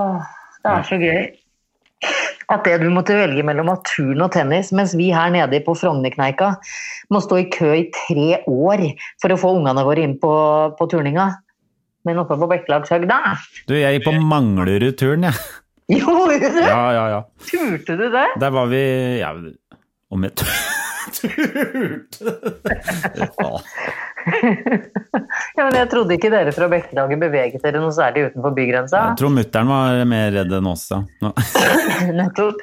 Åh, det er så gøy. At det du måtte velge mellom at turn og tennis, mens vi her nede på Frognerkneika må stå i kø i tre år for å få ungene våre inn på, på turninga. Men oppe på Bekkelagshaugda
Du, jeg gikk på Manglerud turn, jeg.
Jo,
Ja, ja, ja.
turte du det?
Der var vi ja, om et turte! Ja.
Ja, men jeg trodde ikke dere fra Bekkelaget beveget dere noe særlig utenfor bygrensa.
Jeg tror mutter'n var mer redd enn oss. Ja. Nå-
Nettopp.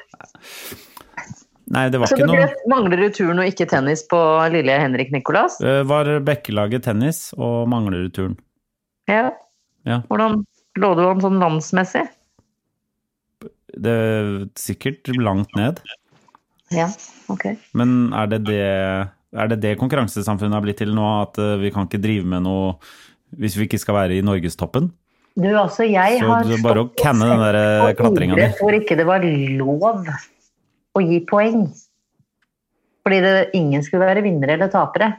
Nei, det var
Så
ikke
det
noe
ble- mangler du turn og ikke tennis på lille Henrik Nikolas?
Eh, Var Bekkelaget tennis og Manglerud turn?
Ja.
Ja.
Hvordan lå du an sånn landsmessig?
Det er sikkert langt ned.
Ja, ok.
Men er det det, er det, det konkurransesamfunnet har blitt til nå? At eh, vi kan ikke drive med noe hvis vi ikke skal være i norgestoppen?
Du, altså, jeg
Så
har
det er bare å
stått og
canne den
sett
der
på
klatringa di.
idrett Hvor ikke det var lov å gi poeng. Fordi det, ingen skulle være vinnere eller tapere.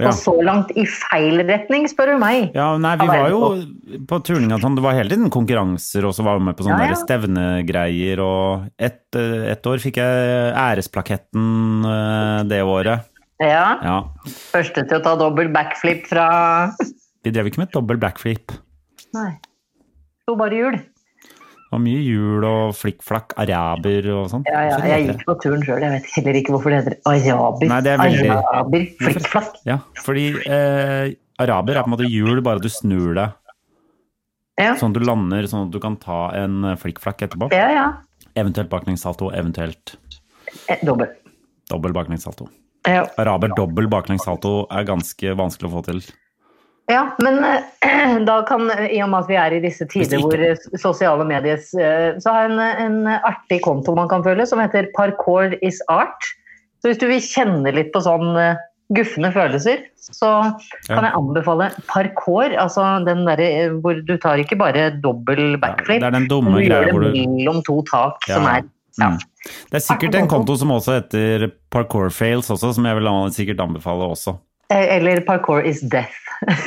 Ja.
Og så langt i feil retning, spør du meg.
Ja, nei, vi var jo på turninga sånn, det var hele tiden konkurranser, og så var vi med på sånne
Ja, ja.
der stevnegreier, og et, eh, et år fikk jeg æresplaketten eh, det året.
Ja,
Ja.
Første til å ta dobbel backflip fra
Vi drev ikke med dobbel backflip.
Nei. Slo bare hjul.
Det var mye hjul og flikkflakk, araber og sånn.
Ja, ja, jeg gikk på turen sjøl. Jeg vet heller ikke hvorfor det heter araber.
Nei, det er veldig-
Araber, flikkflakk.
Ja, fordi eh, araber er på en måte hjul, bare du snur deg.
Ja.
Sånn at du lander, sånn at du kan ta en eh, flikkflakk etterpå.
ja, ja.
Eventuelt baklengssalto, eventuelt
Eh, Dobbel.
dobbel baklengssalto.
Ja.
Araber dobbel baklengssalto er ganske vanskelig å få til.
Ja, men eh, da kan, i og med at vi er i disse tider
ikke-
hvor eh, sosiale medier eh, Så har jeg en, en artig konto man kan følge, som heter Parkour is art. Så hvis du vil kjenne litt på sånn eh, gufne følelser, så kan
Ja.
jeg anbefale parkour. Altså den derre eh, hvor du tar ikke bare dobbel backflip,
det er den dumme
men du
greia
gjør det
hvor du-
mellom to tak
Ja.
som er ja.
Mm. Det er sikkert en konto som også heter Parkour Fails også, som jeg vil sikkert anbefale også.
Eh, Eller parkour is death.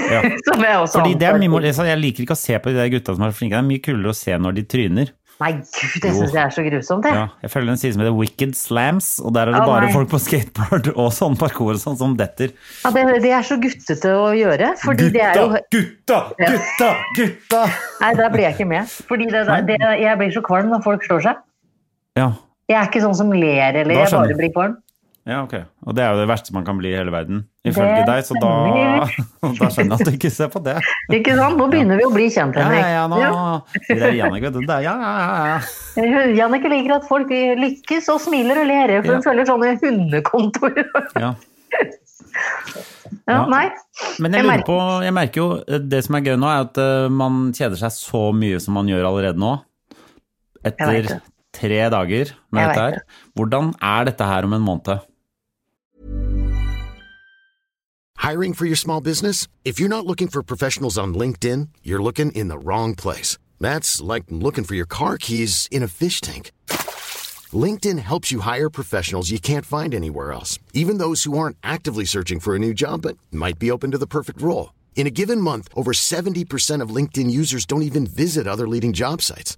Ja.
som jeg også
Fordi det er mye,
anbefaler.
mor- altså, Jeg liker ikke å se på de der gutta som er flinke, det er mye kulere å se når de tryner.
Nei, gud, det
Jo.
syns jeg er så grusomt, jeg.
Ja, jeg følger en side som heter Wicked Slams, og der er det
Å,
bare
nei.
folk på skateboard og sånn parkour og sånn som detter.
Ja, det, det er så guttete å gjøre. Fordi det er jo
Gutta, gutta, gutta, gutta!
Nei, der blir jeg ikke med. Fordi det,
Nei.
det, jeg blir så kvalm når folk slår seg.
Ja,
Jeg er ikke sånn som ler, eller
Da
jeg
skjønner
bare blir kvalm.
ja, ok. Og det er jo det verste man kan bli i hele verden, ifølge
Det
deg, så da, da skjønner jeg at du ikke ser på det.
Ikke sant? Nå begynner vi å bli kjent,
Ja,
Henrik.
ja, ja, nå. Det der Jannik, vet du. Det er, ja, ja, ja.
Ja. Jannicke liker at folk lykkes og smiler og ler, for
Ja.
hun følger sånne hundekontor. ja,
ja. Ja.
Nei.
Men jeg,
Jeg
lurer
merker-
på, jeg merker jo eh, Det som er gøy nå, er at eh, man kjeder seg så mye som man gjør allerede nå.
Jeg vet
Etter
det.
tre dager med
Jeg vet
dette her. Hvordan er dette her om en måned?
Hiring for your small business? If you're not looking for professionals on LinkedIn, you're looking in the wrong place. That's like looking for your car keys in a fish tank. LinkedIn helps you hire professionals you can't find anywhere else, even those who aren't actively searching for a new job but might be open to the perfect role. In a given month, over 70% of LinkedIn users don't even visit other leading job sites.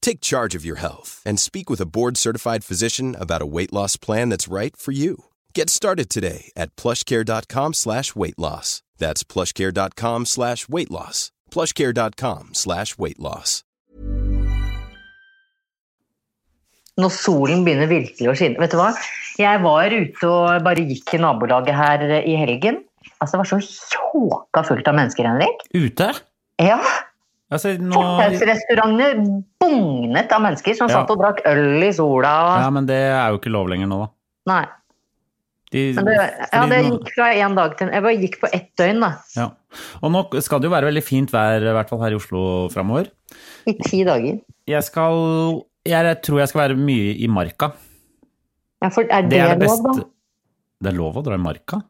Take charge of your health and speak with a board-certified physician about a weight loss plan that's right for you. Get started today at plushcare.com slash weight loss. That's plushcare.com slash weight loss. plushcare.com slash weight loss.
Når solen begynner virkelig å skinne. Vet du hva? Jeg var ute og bare gikk i nabolaget her i helgen. Altså, det var så tjåka fullt av mennesker, Henrik.
Ute?
Ja,
Altså, nå,
Fortausrestaurantene bugnet av mennesker som
Ja.
satt og drakk øl i sola.
ja, men det er jo ikke lov lenger nå, da.
Nei.
De,
Men det, ja,
fordi
det
nå-
gikk fra en dag til en Jeg bare gikk på ett døgn, da.
ja. Og nå skal det jo være veldig fint vær, i hvert fall her i Oslo framover.
I ti dager.
Jeg skal Jeg tror jeg skal være mye i marka.
Ja, for er det,
Det er det
lov,
beste.
da?
Det er lov å dra i marka?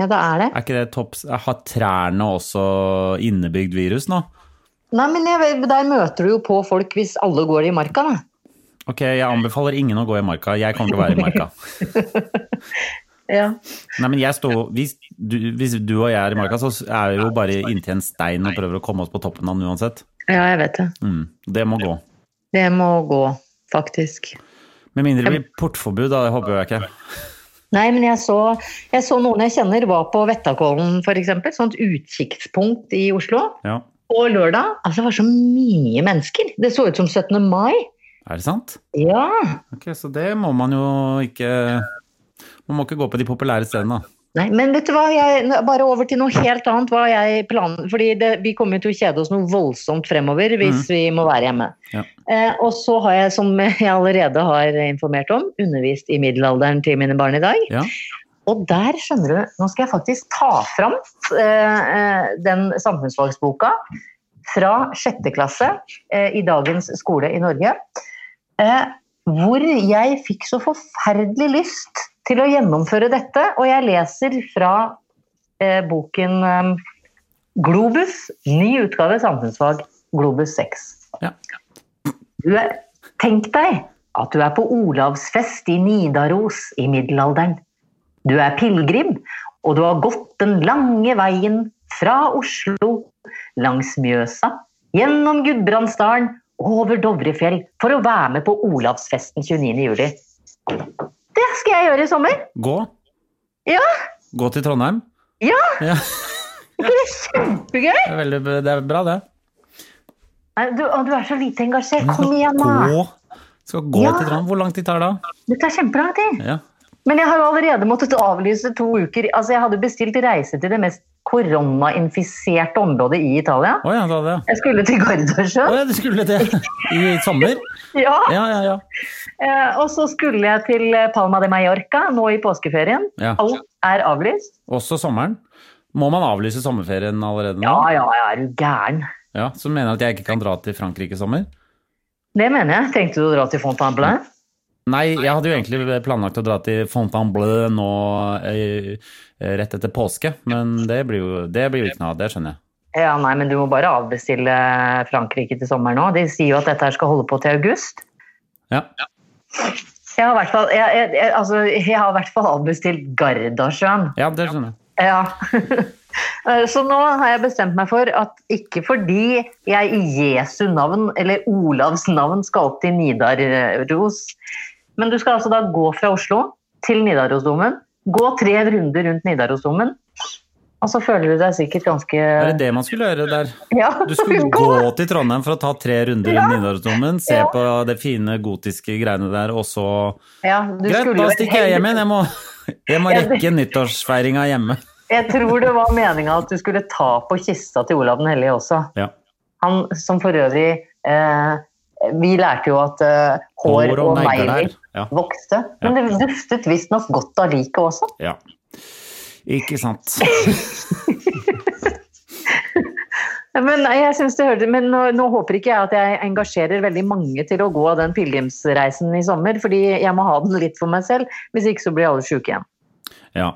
Ja, da er det.
Er ikke det topps... Har trærne også innebygd virus nå?
Nei, men jeg, der møter du jo på folk hvis alle går i marka, da.
Ok, jeg anbefaler ingen å gå i marka. Jeg kommer til å være i marka.
Ja.
Nei, men jeg står, hvis, du, hvis du og jeg er i marka, så er vi jo bare inntil en stein og prøver å komme oss på toppen av den uansett.
ja, jeg vet det.
Mm, det må gå.
Det må gå, faktisk.
Med mindre det blir portforbud, da. Det håper jeg ikke.
Nei, men jeg så, jeg så noen jeg kjenner var på Vettakollen f.eks. Sånt utkikkspunkt i Oslo.
Ja.
Og lørdag altså det var så mye mennesker. Det så ut som 17. mai.
Er det sant?
Ja.
Ok, Så det må man jo ikke Man må ikke gå på de populære stedene, da.
Nei, men vet du hva, jeg, bare over til noe helt annet. Hva jeg planen, fordi det, vi kommer jo til å kjede oss noe voldsomt fremover hvis vi må være hjemme.
Mm. Ja.
Eh, og så har jeg, som jeg allerede har informert om, undervist i middelalderen til mine barn i dag.
Ja.
Og der, skjønner du, nå skal jeg faktisk ta fram eh, eh, den samfunnsfagsboka fra sjette klasse eh, i dagens skole i Norge. Eh, hvor jeg fikk så forferdelig lyst til å gjennomføre dette, og jeg leser fra eh, boken eh, Globus, ny utgave samfunnsfag, Globus 6.
Ja.
Du er, tenk deg at du er på Olavsfest i Nidaros i middelalderen. Du er pilegrim, og du har gått den lange veien fra Oslo, langs Mjøsa, gjennom Gudbrandsdalen, over Dovrefjell, for å være med på Olavsfesten 29. juli. Det skal jeg gjøre i sommer!
Gå.
Ja.
Gå til Trondheim.
Ja,
Ja,
det er kjempegøy!
det er, veldig, det er bra, det.
Nei, Du, å, du er så lite engasjert. Kom igjen, da!
Gå. Skal gå
Ja.
til Trondheim. Hvor lang tid tar det? da?
Det tar kjempelang tid.
Ja.
Men jeg har jo allerede måttet avlyse to uker. Altså, Jeg hadde bestilt reise til det mest koronainfiserte området i Italia.
Å ja, da det. ja.
Jeg skulle til
Å
Gardasjøen.
ja, du skulle det i sommer?
Ja.
Ja, ja, ja.
Eh, og så skulle jeg til Palma de Mallorca nå i påskeferien.
Ja.
Alt er avlyst.
Også sommeren? Må man avlyse sommerferien allerede nå?
Ja, ja, ja, er du gæren.
Ja, Så du mener at jeg ikke kan dra til Frankrike i sommer?
Det mener jeg. Tenkte du å dra til Fontainebleau?
Nei, jeg hadde jo egentlig planlagt å dra til Fontainebleau nå eh, rett etter påske, men det blir jo, det blir jo ikke noe av, det skjønner jeg.
Ja, nei, men du må bare avbestille Frankrike til sommeren nå. De sier jo at dette her skal holde på til august.
Ja,
Jeg har i hvert fall, jeg, jeg, jeg, altså, jeg har i hvert fall avbestilt Gardasjøen.
ja det skjønner jeg.
Ja. Eh, Så nå har jeg bestemt meg for at ikke fordi jeg i Jesu navn, eller Olavs navn, skal opp til Nidaros, men du skal altså da gå fra Oslo til Nidarosdomen, gå tre runder rundt Nidarosdomen, og så føler du deg sikkert ganske
Er det det man skulle gjøre der?
Ja,
Du skulle gå til Trondheim for å ta tre runder rundt Nidarosdomen, se
Ja.
på det fine gotiske greiene der, og så
Ja, du
Greit,
skulle
da
jo-
stikker jeg hjem igjen. Jeg må, jeg må
Ja, det-
rekke nyttårsfeiringa hjemme.
Jeg tror det var meninga at du skulle ta på kista til Olav den hellige også.
Ja.
Han som for øvrig eh, Vi lærte jo at eh, hår, og, negler
Ja.
vokste. Men det duftet visstnok godt av liket også.
ja. Ikke sant.
Men jeg synes det hørte, men nå, nå håper ikke jeg at jeg engasjerer veldig mange til å gå den pilegrimsreisen i sommer, fordi jeg må ha den litt for meg selv. Hvis ikke så blir alle sjuke igjen.
Ja.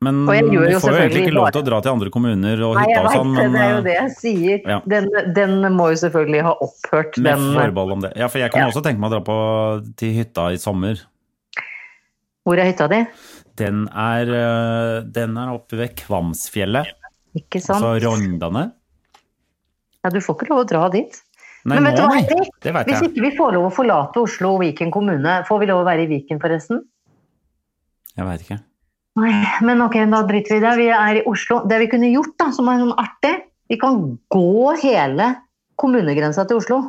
Men
Og jeg
du får
gjør jo
jo egentlig
selvfølgelig
ikke lov
bare-
til å dra til andre kommuner og
Nei,
hytta
jeg
og
vet
sånn,
det, det er jo
men
det jeg sier.
ja.
Den, den må jo selvfølgelig ha opphørt,
med
den
forbehold om det. Ja, for jeg kan også tenke meg å dra på til hytta i sommer.
Hvor er hytta di?
Den er, øh, den er oppe ved Kvamsfjellet,
Ikke sant?
altså Rondane.
Ja, du får ikke lov å dra dit.
Nei,
Men vet
nå,
du hva,
nei.
Henrik?
Det vet
Hvis
jeg.
ikke vi får lov å forlate Oslo og Viken kommune, får vi lov å være i Viken forresten?
Jeg vet ikke.
Nei, men ok, da driter vi i det. Vi er i Oslo. Det vi kunne gjort, da, som er sånn artig Vi kan gå hele kommunegrensa til Oslo.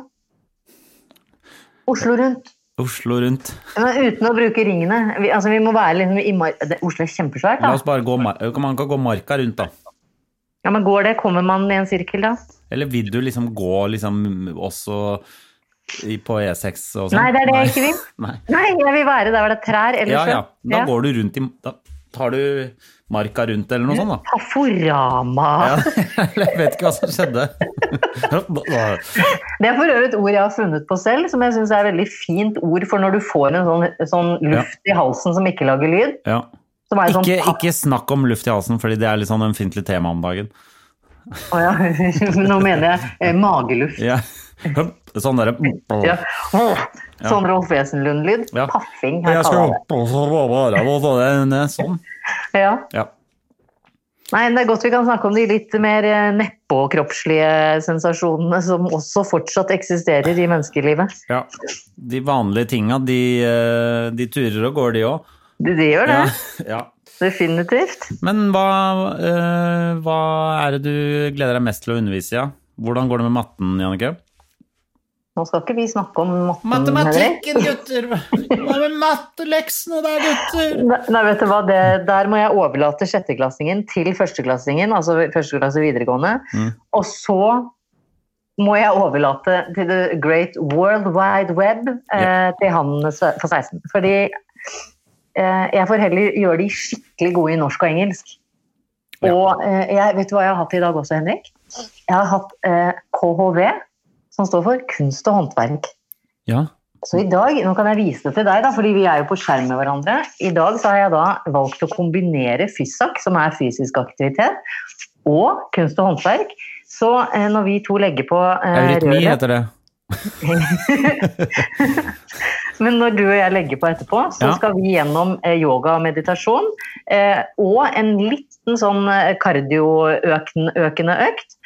Oslo rundt.
Oslo rundt.
Men uten å bruke ringene. Vi, altså, vi må være liksom i mar det, Oslo er kjempesvært,
La oss
da.
bare gå, mar- man kan gå marka rundt, da.
Ja, men går det? Kommer man i en sirkel, da?
Eller vil du liksom gå liksom også i- på E6 og sånn?
Nei, det er det jeg ikke vil.
Nei.
Nei, jeg vil være der hvor det er trær eller
Ja,
sjø.
ja. Da går du rundt i Da tar du marka rundt eller noe sånt, da.
Taforama.
Ja, jeg vet ikke hva som skjedde.
Det er for øvrig et ord jeg har funnet på selv, som jeg syns er et veldig fint ord for når du får en sånn, sånn luft i halsen som ikke lager lyd.
Ja.
Som er sånn
Ikke,
papp-
ikke snakk om luft i halsen, fordi det er litt sånn ømfintlig tema om dagen.
Å ja. Nå mener jeg eh, mageluft.
Ja. Det er sånn derre
Ja. Åh, Sånn Rolf Wesenlund-lyd.
Ja.
Paffing.
Jeg
Jeg
skal
kaller
opp og så bare og så det- det er Sånn.
det. Ja.
Ja.
Nei, men Det er godt vi kan snakke om de litt mer eh, neppe og kroppslige sensasjonene som også fortsatt eksisterer i menneskelivet.
ja. De vanlige tinga, de, eh, de turer og går, de òg.
Det, det gjør det.
Ja. ja.
Definitivt.
Men hva, eh, hva er det du gleder deg mest til å undervise i? Ja? Hvordan går det med matten, Jannicke?
Nå skal ikke vi snakke om matten, Henrik.
gutter! Hva med matteleksene der, gutter?
Nei, nei, vet du hva? Det, der må jeg overlate sjetteklassingen til førsteklassingen, altså første klasse videregående.
Mm.
Og så må jeg overlate til the great world wide web eh, til han sve- på 16. Fordi eh, jeg får heller gjøre de skikkelig gode i norsk og engelsk.
Ja.
Og eh, jeg, vet du hva jeg har hatt i dag også, Henrik? Jeg har hatt eh, KHV, som står for kunst og håndverk.
Ja.
Så i dag, nå kan jeg vise det til deg, da, fordi vi er jo på skjerm med hverandre. I dag så har jeg da valgt å kombinere fysak, som er fysisk aktivitet, og kunst og håndverk. Så eh, når vi to legger på eh,
Eurytmi
røret
heter det.
Men når du og jeg legger på etterpå, så
Ja.
skal vi gjennom eh, yoga og meditasjon. Eh, og en liten sånn eh, kardioøkende økt.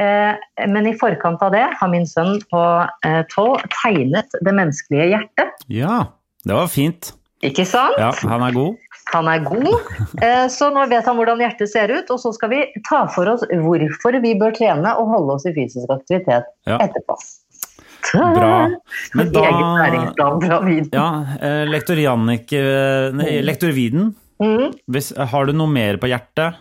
Eh, men i forkant av det har min sønn på eh, 12 tegnet det menneskelige hjertet.
Ja, det var fint.
Ikke sant?
Ja, han er god.
Han er god, eh, så nå vet han hvordan hjertet ser ut. Og så skal vi ta for oss hvorfor vi bør trene og holde oss i fysisk aktivitet
Ja.
etterpå.
Bra. Men
Egen
da
næringsplan fra Wien.
Ja, eh, lektor Jannik eh, Nei, lektor Viden.
Mhm.
Hvis, eh, har du noe mer på hjertet?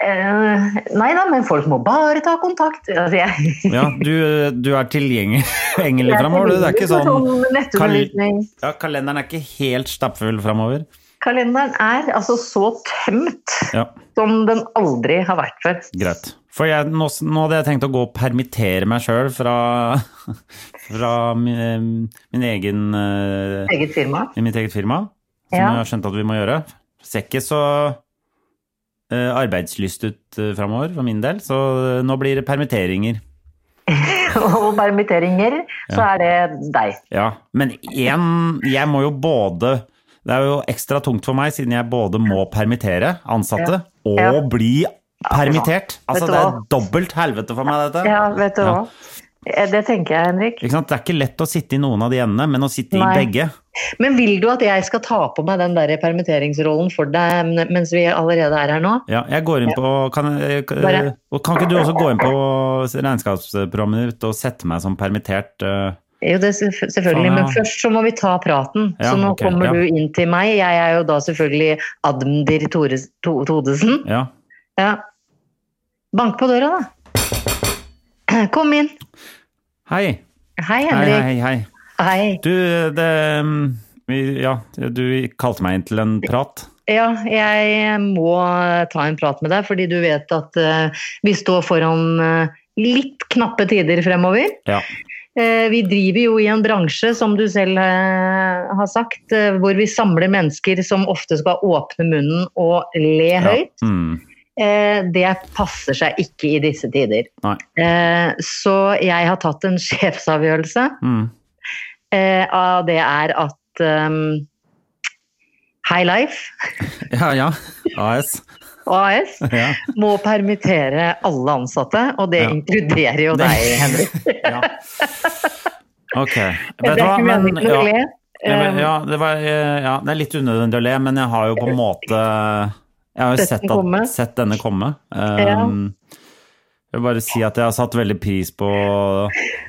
Eh, nei da, men folk må bare ta kontakt. Altså, jeg,
Ja, du, eh, du er tilgjengelig engelig framover, du. Det er ikke sånn
Nettundervisning.
ja, Kalenderen er ikke helt stappfull framover.
Kalenderen er altså så tømt
Ja,
som den aldri har vært før.
greit. For jeg, nå, nå hadde jeg tenkt å gå og permittere meg sjøl fra, fra eh, min, min egen eh,
Eget firma.
i mitt eget firma, som
Ja.
jeg har skjønt at vi må gjøre. Ser ikke så eh, arbeidslyst ut uh, framover for min del, så eh, nå blir det permitteringer.
Og permitteringer, så er det deg.
Ja, men én Jeg må jo både Det er jo ekstra tungt for meg, siden jeg både må permittere ansatte og
Ja.
bli permittert. Altså,
Vet du
det er
hva?
dobbelt helvete for meg, dette.
Ja, vet du
Ja.
hva. Eh, Det tenker jeg, Henrik.
Ikke sant? Det er ikke lett å sitte i noen av de endene, men å sitte i
Nei.
begge
Men vil du at jeg skal ta på meg den der permitteringsrollen for deg men- mens vi allerede er her nå?
Ja, jeg går inn på Kan, eh, k-
Bare-
og kan ikke du også gå inn på regnskapsprogrammet ditt og sette meg som permittert? eh?
Jo, det er selvf-
Faen,
selvfølgelig,
Sånn, ja.
men først så må vi ta praten.
Ja,
så nå
ok,
kommer
ja.
du inn til meg. Jeg er jo da selvfølgelig Admdir Tores, to, Todesen.
Ja.
Ja. Bank på døra, da. Kom inn.
Hei. Hei,
Hei, Henrik.
hei, hei.
Hei.
Du, det mm, vi- Ja, du kalte meg inn til en prat.
Ja, jeg må ta en prat med deg, fordi du vet at eh, vi står foran eh, litt knappe tider fremover.
Ja.
Eh, Vi driver jo i en bransje, som du selv eh, har sagt, eh, hvor vi samler mennesker som ofte skal åpne munnen og le
ja.
høyt.
Mm.
Eh, Det passer seg ikke i disse tider.
Nei.
Eh, Så jeg har tatt en sjefsavgjørelse.
Mm.
eh, Av det er at um, High Life
Ja, ja. AS.
og AS
Ja.
må permittere alle ansatte, og det
Ja.
inkluderer jo deg, Henrik.
ja. Ok.
Det
Vet
er
du hva,
ikke
men
meningen å
ja.
le.
Ja, men,
Um,
ja, det var, eh, ja, det er litt unødvendig å le, men jeg har jo på en måte Jeg har jo
Sett
sett,
den komme.
at, sett denne komme. Um, jeg vil bare si at jeg har satt veldig pris på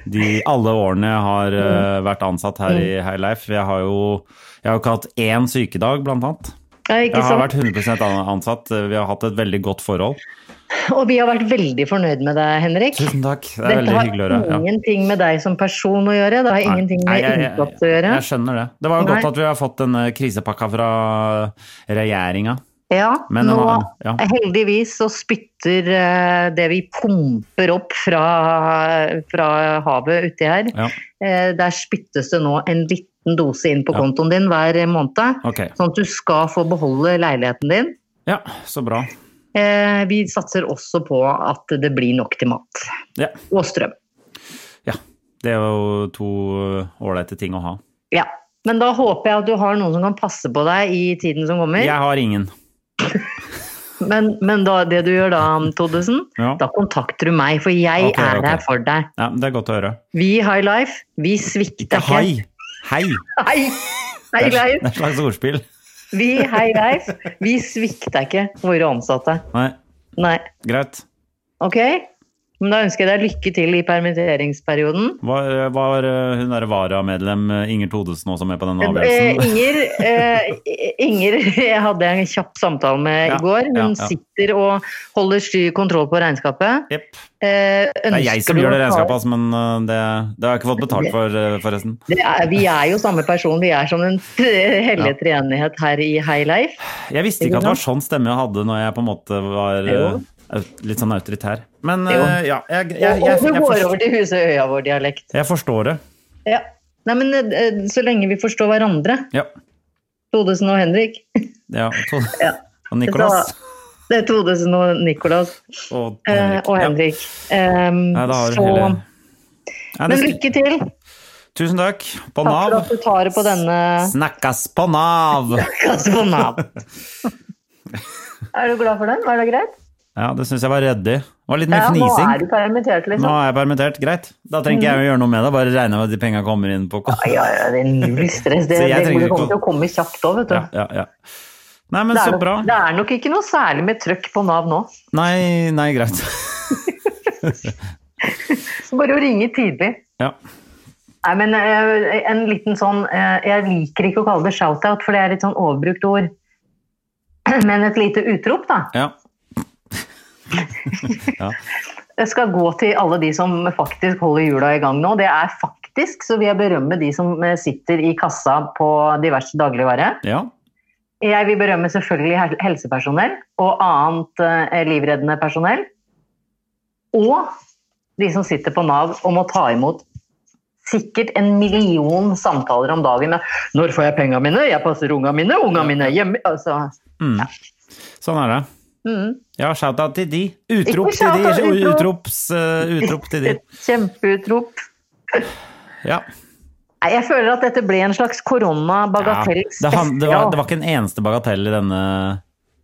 de, alle årene jeg har
Mm.
eh, vært ansatt her i High Life. Jeg har jo jeg har jo ikke hatt én sykedag, blant annet.
ja, ikke
Jeg har
sant?
vært 100 an- ansatt. Vi har hatt et veldig godt forhold.
Og vi har vært veldig fornøyd med deg, Henrik.
Tusen takk. Det er veldig hyggelig å høre.
Dette
ja.
har ingenting med deg som person å gjøre, det har ingenting
Nei,
med
jeg- jeg-
innsats å gjøre.
Jeg skjønner det. Det var jo godt
Nei.
at vi har fått denne krisepakka fra regjeringa.
Ja,
Men
nå,
ja.
heldigvis så spytter eh, det vi pumper opp fra, fra havet uti her,
Ja,
eh, der spyttes det nå en liten dose inn på
Ja.
kontoen din hver måned,
ok.
sånn at du skal få beholde leiligheten din.
Ja, så bra.
Eh, Vi satser også på at det blir nok til mat
Ja.
og strøm.
ja. Det er jo to eh, ålreite ting å ha.
Ja. Men da håper jeg at du har noen som kan passe på deg i tiden som kommer.
Jeg har ingen.
Men, men da, det du gjør da, Toddesen,
Ja.
da kontakter du meg, for jeg
Ok,
er
ok.
her for deg.
Ja, det er godt å høre.
Vi i High Life, vi svikter
Ikke
ikke.
hei! Hei!
Hei! Hei,
Det er,
Leif.
det er et slags ordspill.
Vi i High Life, vi svikter ikke våre ansatte.
Nei,
Nei.
greit.
Ok? Men da ønsker jeg deg lykke til i permitteringsperioden.
Var, var eh, hun der varamedlem eh, Inger Thodesen også med på den
Eh,
avgjørelsen?
Inger, eh, Inger jeg hadde jeg en kjapp samtale med
Ja,
i går. Hun
ja, ja.
sitter og holder styr kontroll på regnskapet.
Jepp.
Eh,
Det er jeg som
ønsker
gjør det
du å ta-
regnskapet, altså, men eh, det, det har jeg ikke fått betalt for, eh, forresten.
Det er, vi er jo samme person, vi er som en tre- hellige treenighet her i High Life.
Jeg visste ikke at det var sånn stemme jeg hadde når jeg på en måte var eh, au- litt sånn autoritær. Men eh,
Jo.
ja, jeg, jeg,
Og
jeg,
og vi
jeg,
går
forstår,
over til huset øya vår-dialekt.
jeg forstår det.
Ja. Nei, men eh, så lenge vi forstår hverandre,
Ja.
Todesen og Henrik.
ja. To, Og Nicolas
Det er Todesen og Nicolas
og
eh,
Henrik.
og Henrik. Ehm,
Ja. Nei, da har du
så,
hele... Nei,
men
det-
lykke til.
Tusen takk. På
Takk for
Nav.
at du tar det på denne
Snakkes på Nav!
kassen på Nav. Er du glad for den? Var det greit?
Ja, det syns jeg var ryddig. Det var litt mye
Ja, nå
fnising.
er du permittert,
Nå
liksom.
er jeg permittert, greit. Da trenger ikke jeg å
Mm.
gjøre noe med det, bare regne med at de penga kommer inn på konto.
Ja, ja, det er null stress. Det,
Så jeg
det,
trenger
det
ikke å-
kommer til å komme kjapt òg, vet du.
Ja, ja, ja. Nei, men
Det er,
så bra.
nok, det er nok ikke noe særlig med trøkk på Nav nå.
Nei, nei, greit.
Så Bare å ringe tidlig.
Ja.
Nei, men eh, en liten sånn eh, Jeg liker ikke å kalle det shout-out, for det er et sånn overbrukt ord. Men et lite utrop, da.
ja.
Jeg skal gå til alle de som faktisk holder hjula i gang nå. Det er faktisk, så vil jeg berømme de som eh, sitter i kassa på diverse dagligvare.
Ja.
Jeg vil berømme selvfølgelig hel- helsepersonell og annet eh, livreddende personell. Og de som sitter på Nav og må ta imot sikkert en million samtaler om dagen. med, 'Når får jeg penga mine? Jeg passer unga mine. Unga mine er hjemme.' Altså,
Mm. Sånn er det.
mm.
Ja, shout-out til de. Utrop
Ikke
til de.
shout-out, utrop.
Utrops, eh, utrop til de.
Et kjempeutrop.
Ja.
Nei, Jeg føler at dette ble en slags
ja.
koronabagatell
Det, han, det, var, det var ikke en eneste bagatell i denne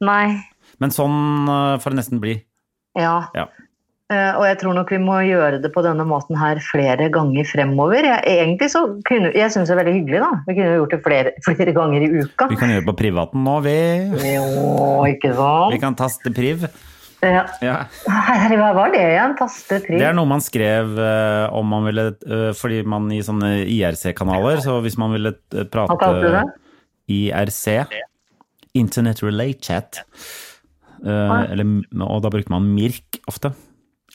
Nei.
Men sånn eh, får det nesten bli.
Ja.
Ja.
Eh, Og jeg tror nok vi må gjøre det på denne måten her flere ganger fremover. Jeg, egentlig så kunne, jeg synes det er veldig hyggelig da. Vi kunne jo gjort det flere, flere ganger i uka.
Vi kan gjøre det på privaten nå, vi.
Jo, ikke
Vi
sant?
kan taste priv.
Ja.
Ja.
Herre, hva var det igjen? Taste
Det er
pris?
noe man skrev eh, om man ville eh, Fordi man i sånne IRC-kanaler, så hvis man ville eh,
Hva kalte du
prate
det?
IRC, Internet Relay Chat, eh, eller, og da brukte man MIRK ofte.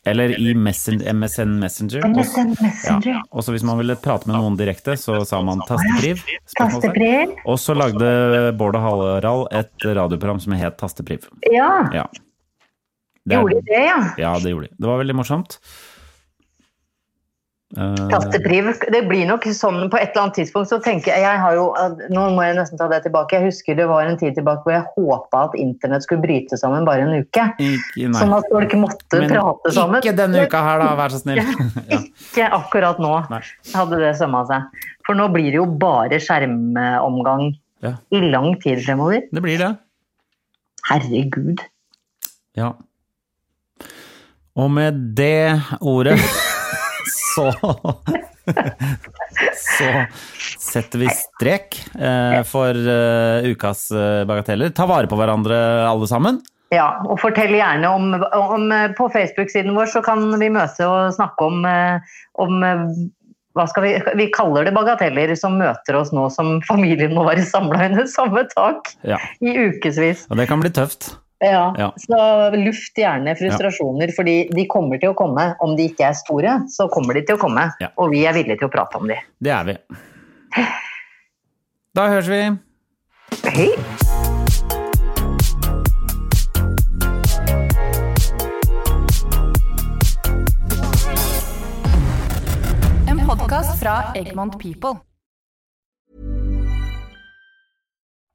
Eller i messen, MSN Messenger.
MSN Messenger.
Ja. Og så hvis man ville prate med noen direkte, så sa man tastepriv. spørsmålstegn.
Tastepriv?
Og så lagde Bård og Hallerall et radioprogram som het Tastepriv.
Ja,
Ja. Det er-
gjorde de det, ja.
ja, det gjorde de. Det var veldig morsomt. Eh,
Tastepriv. Det blir nok sånn på et eller annet tidspunkt, så tenker jeg, jeg har jo, nå må jeg nesten ta det tilbake, jeg husker det var en tid tilbake hvor jeg håpet at internett skulle bryte sammen bare en uke.
ikke, nei.
Sånn at folk måtte
Men
prate sammen.
ikke denne uka her, da, vær så snill. ja.
Ikke akkurat nå
Nei.
hadde det sømma seg. For nå blir det jo bare skjermomgang
Ja.
i lang tid fremover.
Det blir det.
Herregud.
Ja. Og med det ordet så Så setter vi strek eh, for eh, ukas eh, bagateller. Ta vare på hverandre, alle sammen.
Ja, og fortell gjerne om, om eh, På Facebook-siden vår så kan vi møte og snakke om, eh, om eh, hva skal vi, vi kaller det bagateller som møter oss nå som familien må være samla under samme tak
Ja.
i ukevis.
Og det kan bli tøft.
Ja,
Ja.
Så luft gjerne frustrasjoner, fordi de kommer til å komme. Om de ikke er store, så kommer de til å komme.
Ja.
Og vi er villige til å prate om de.
Det er vi. Da høres vi.
Hei!
En podkast fra Egmont People.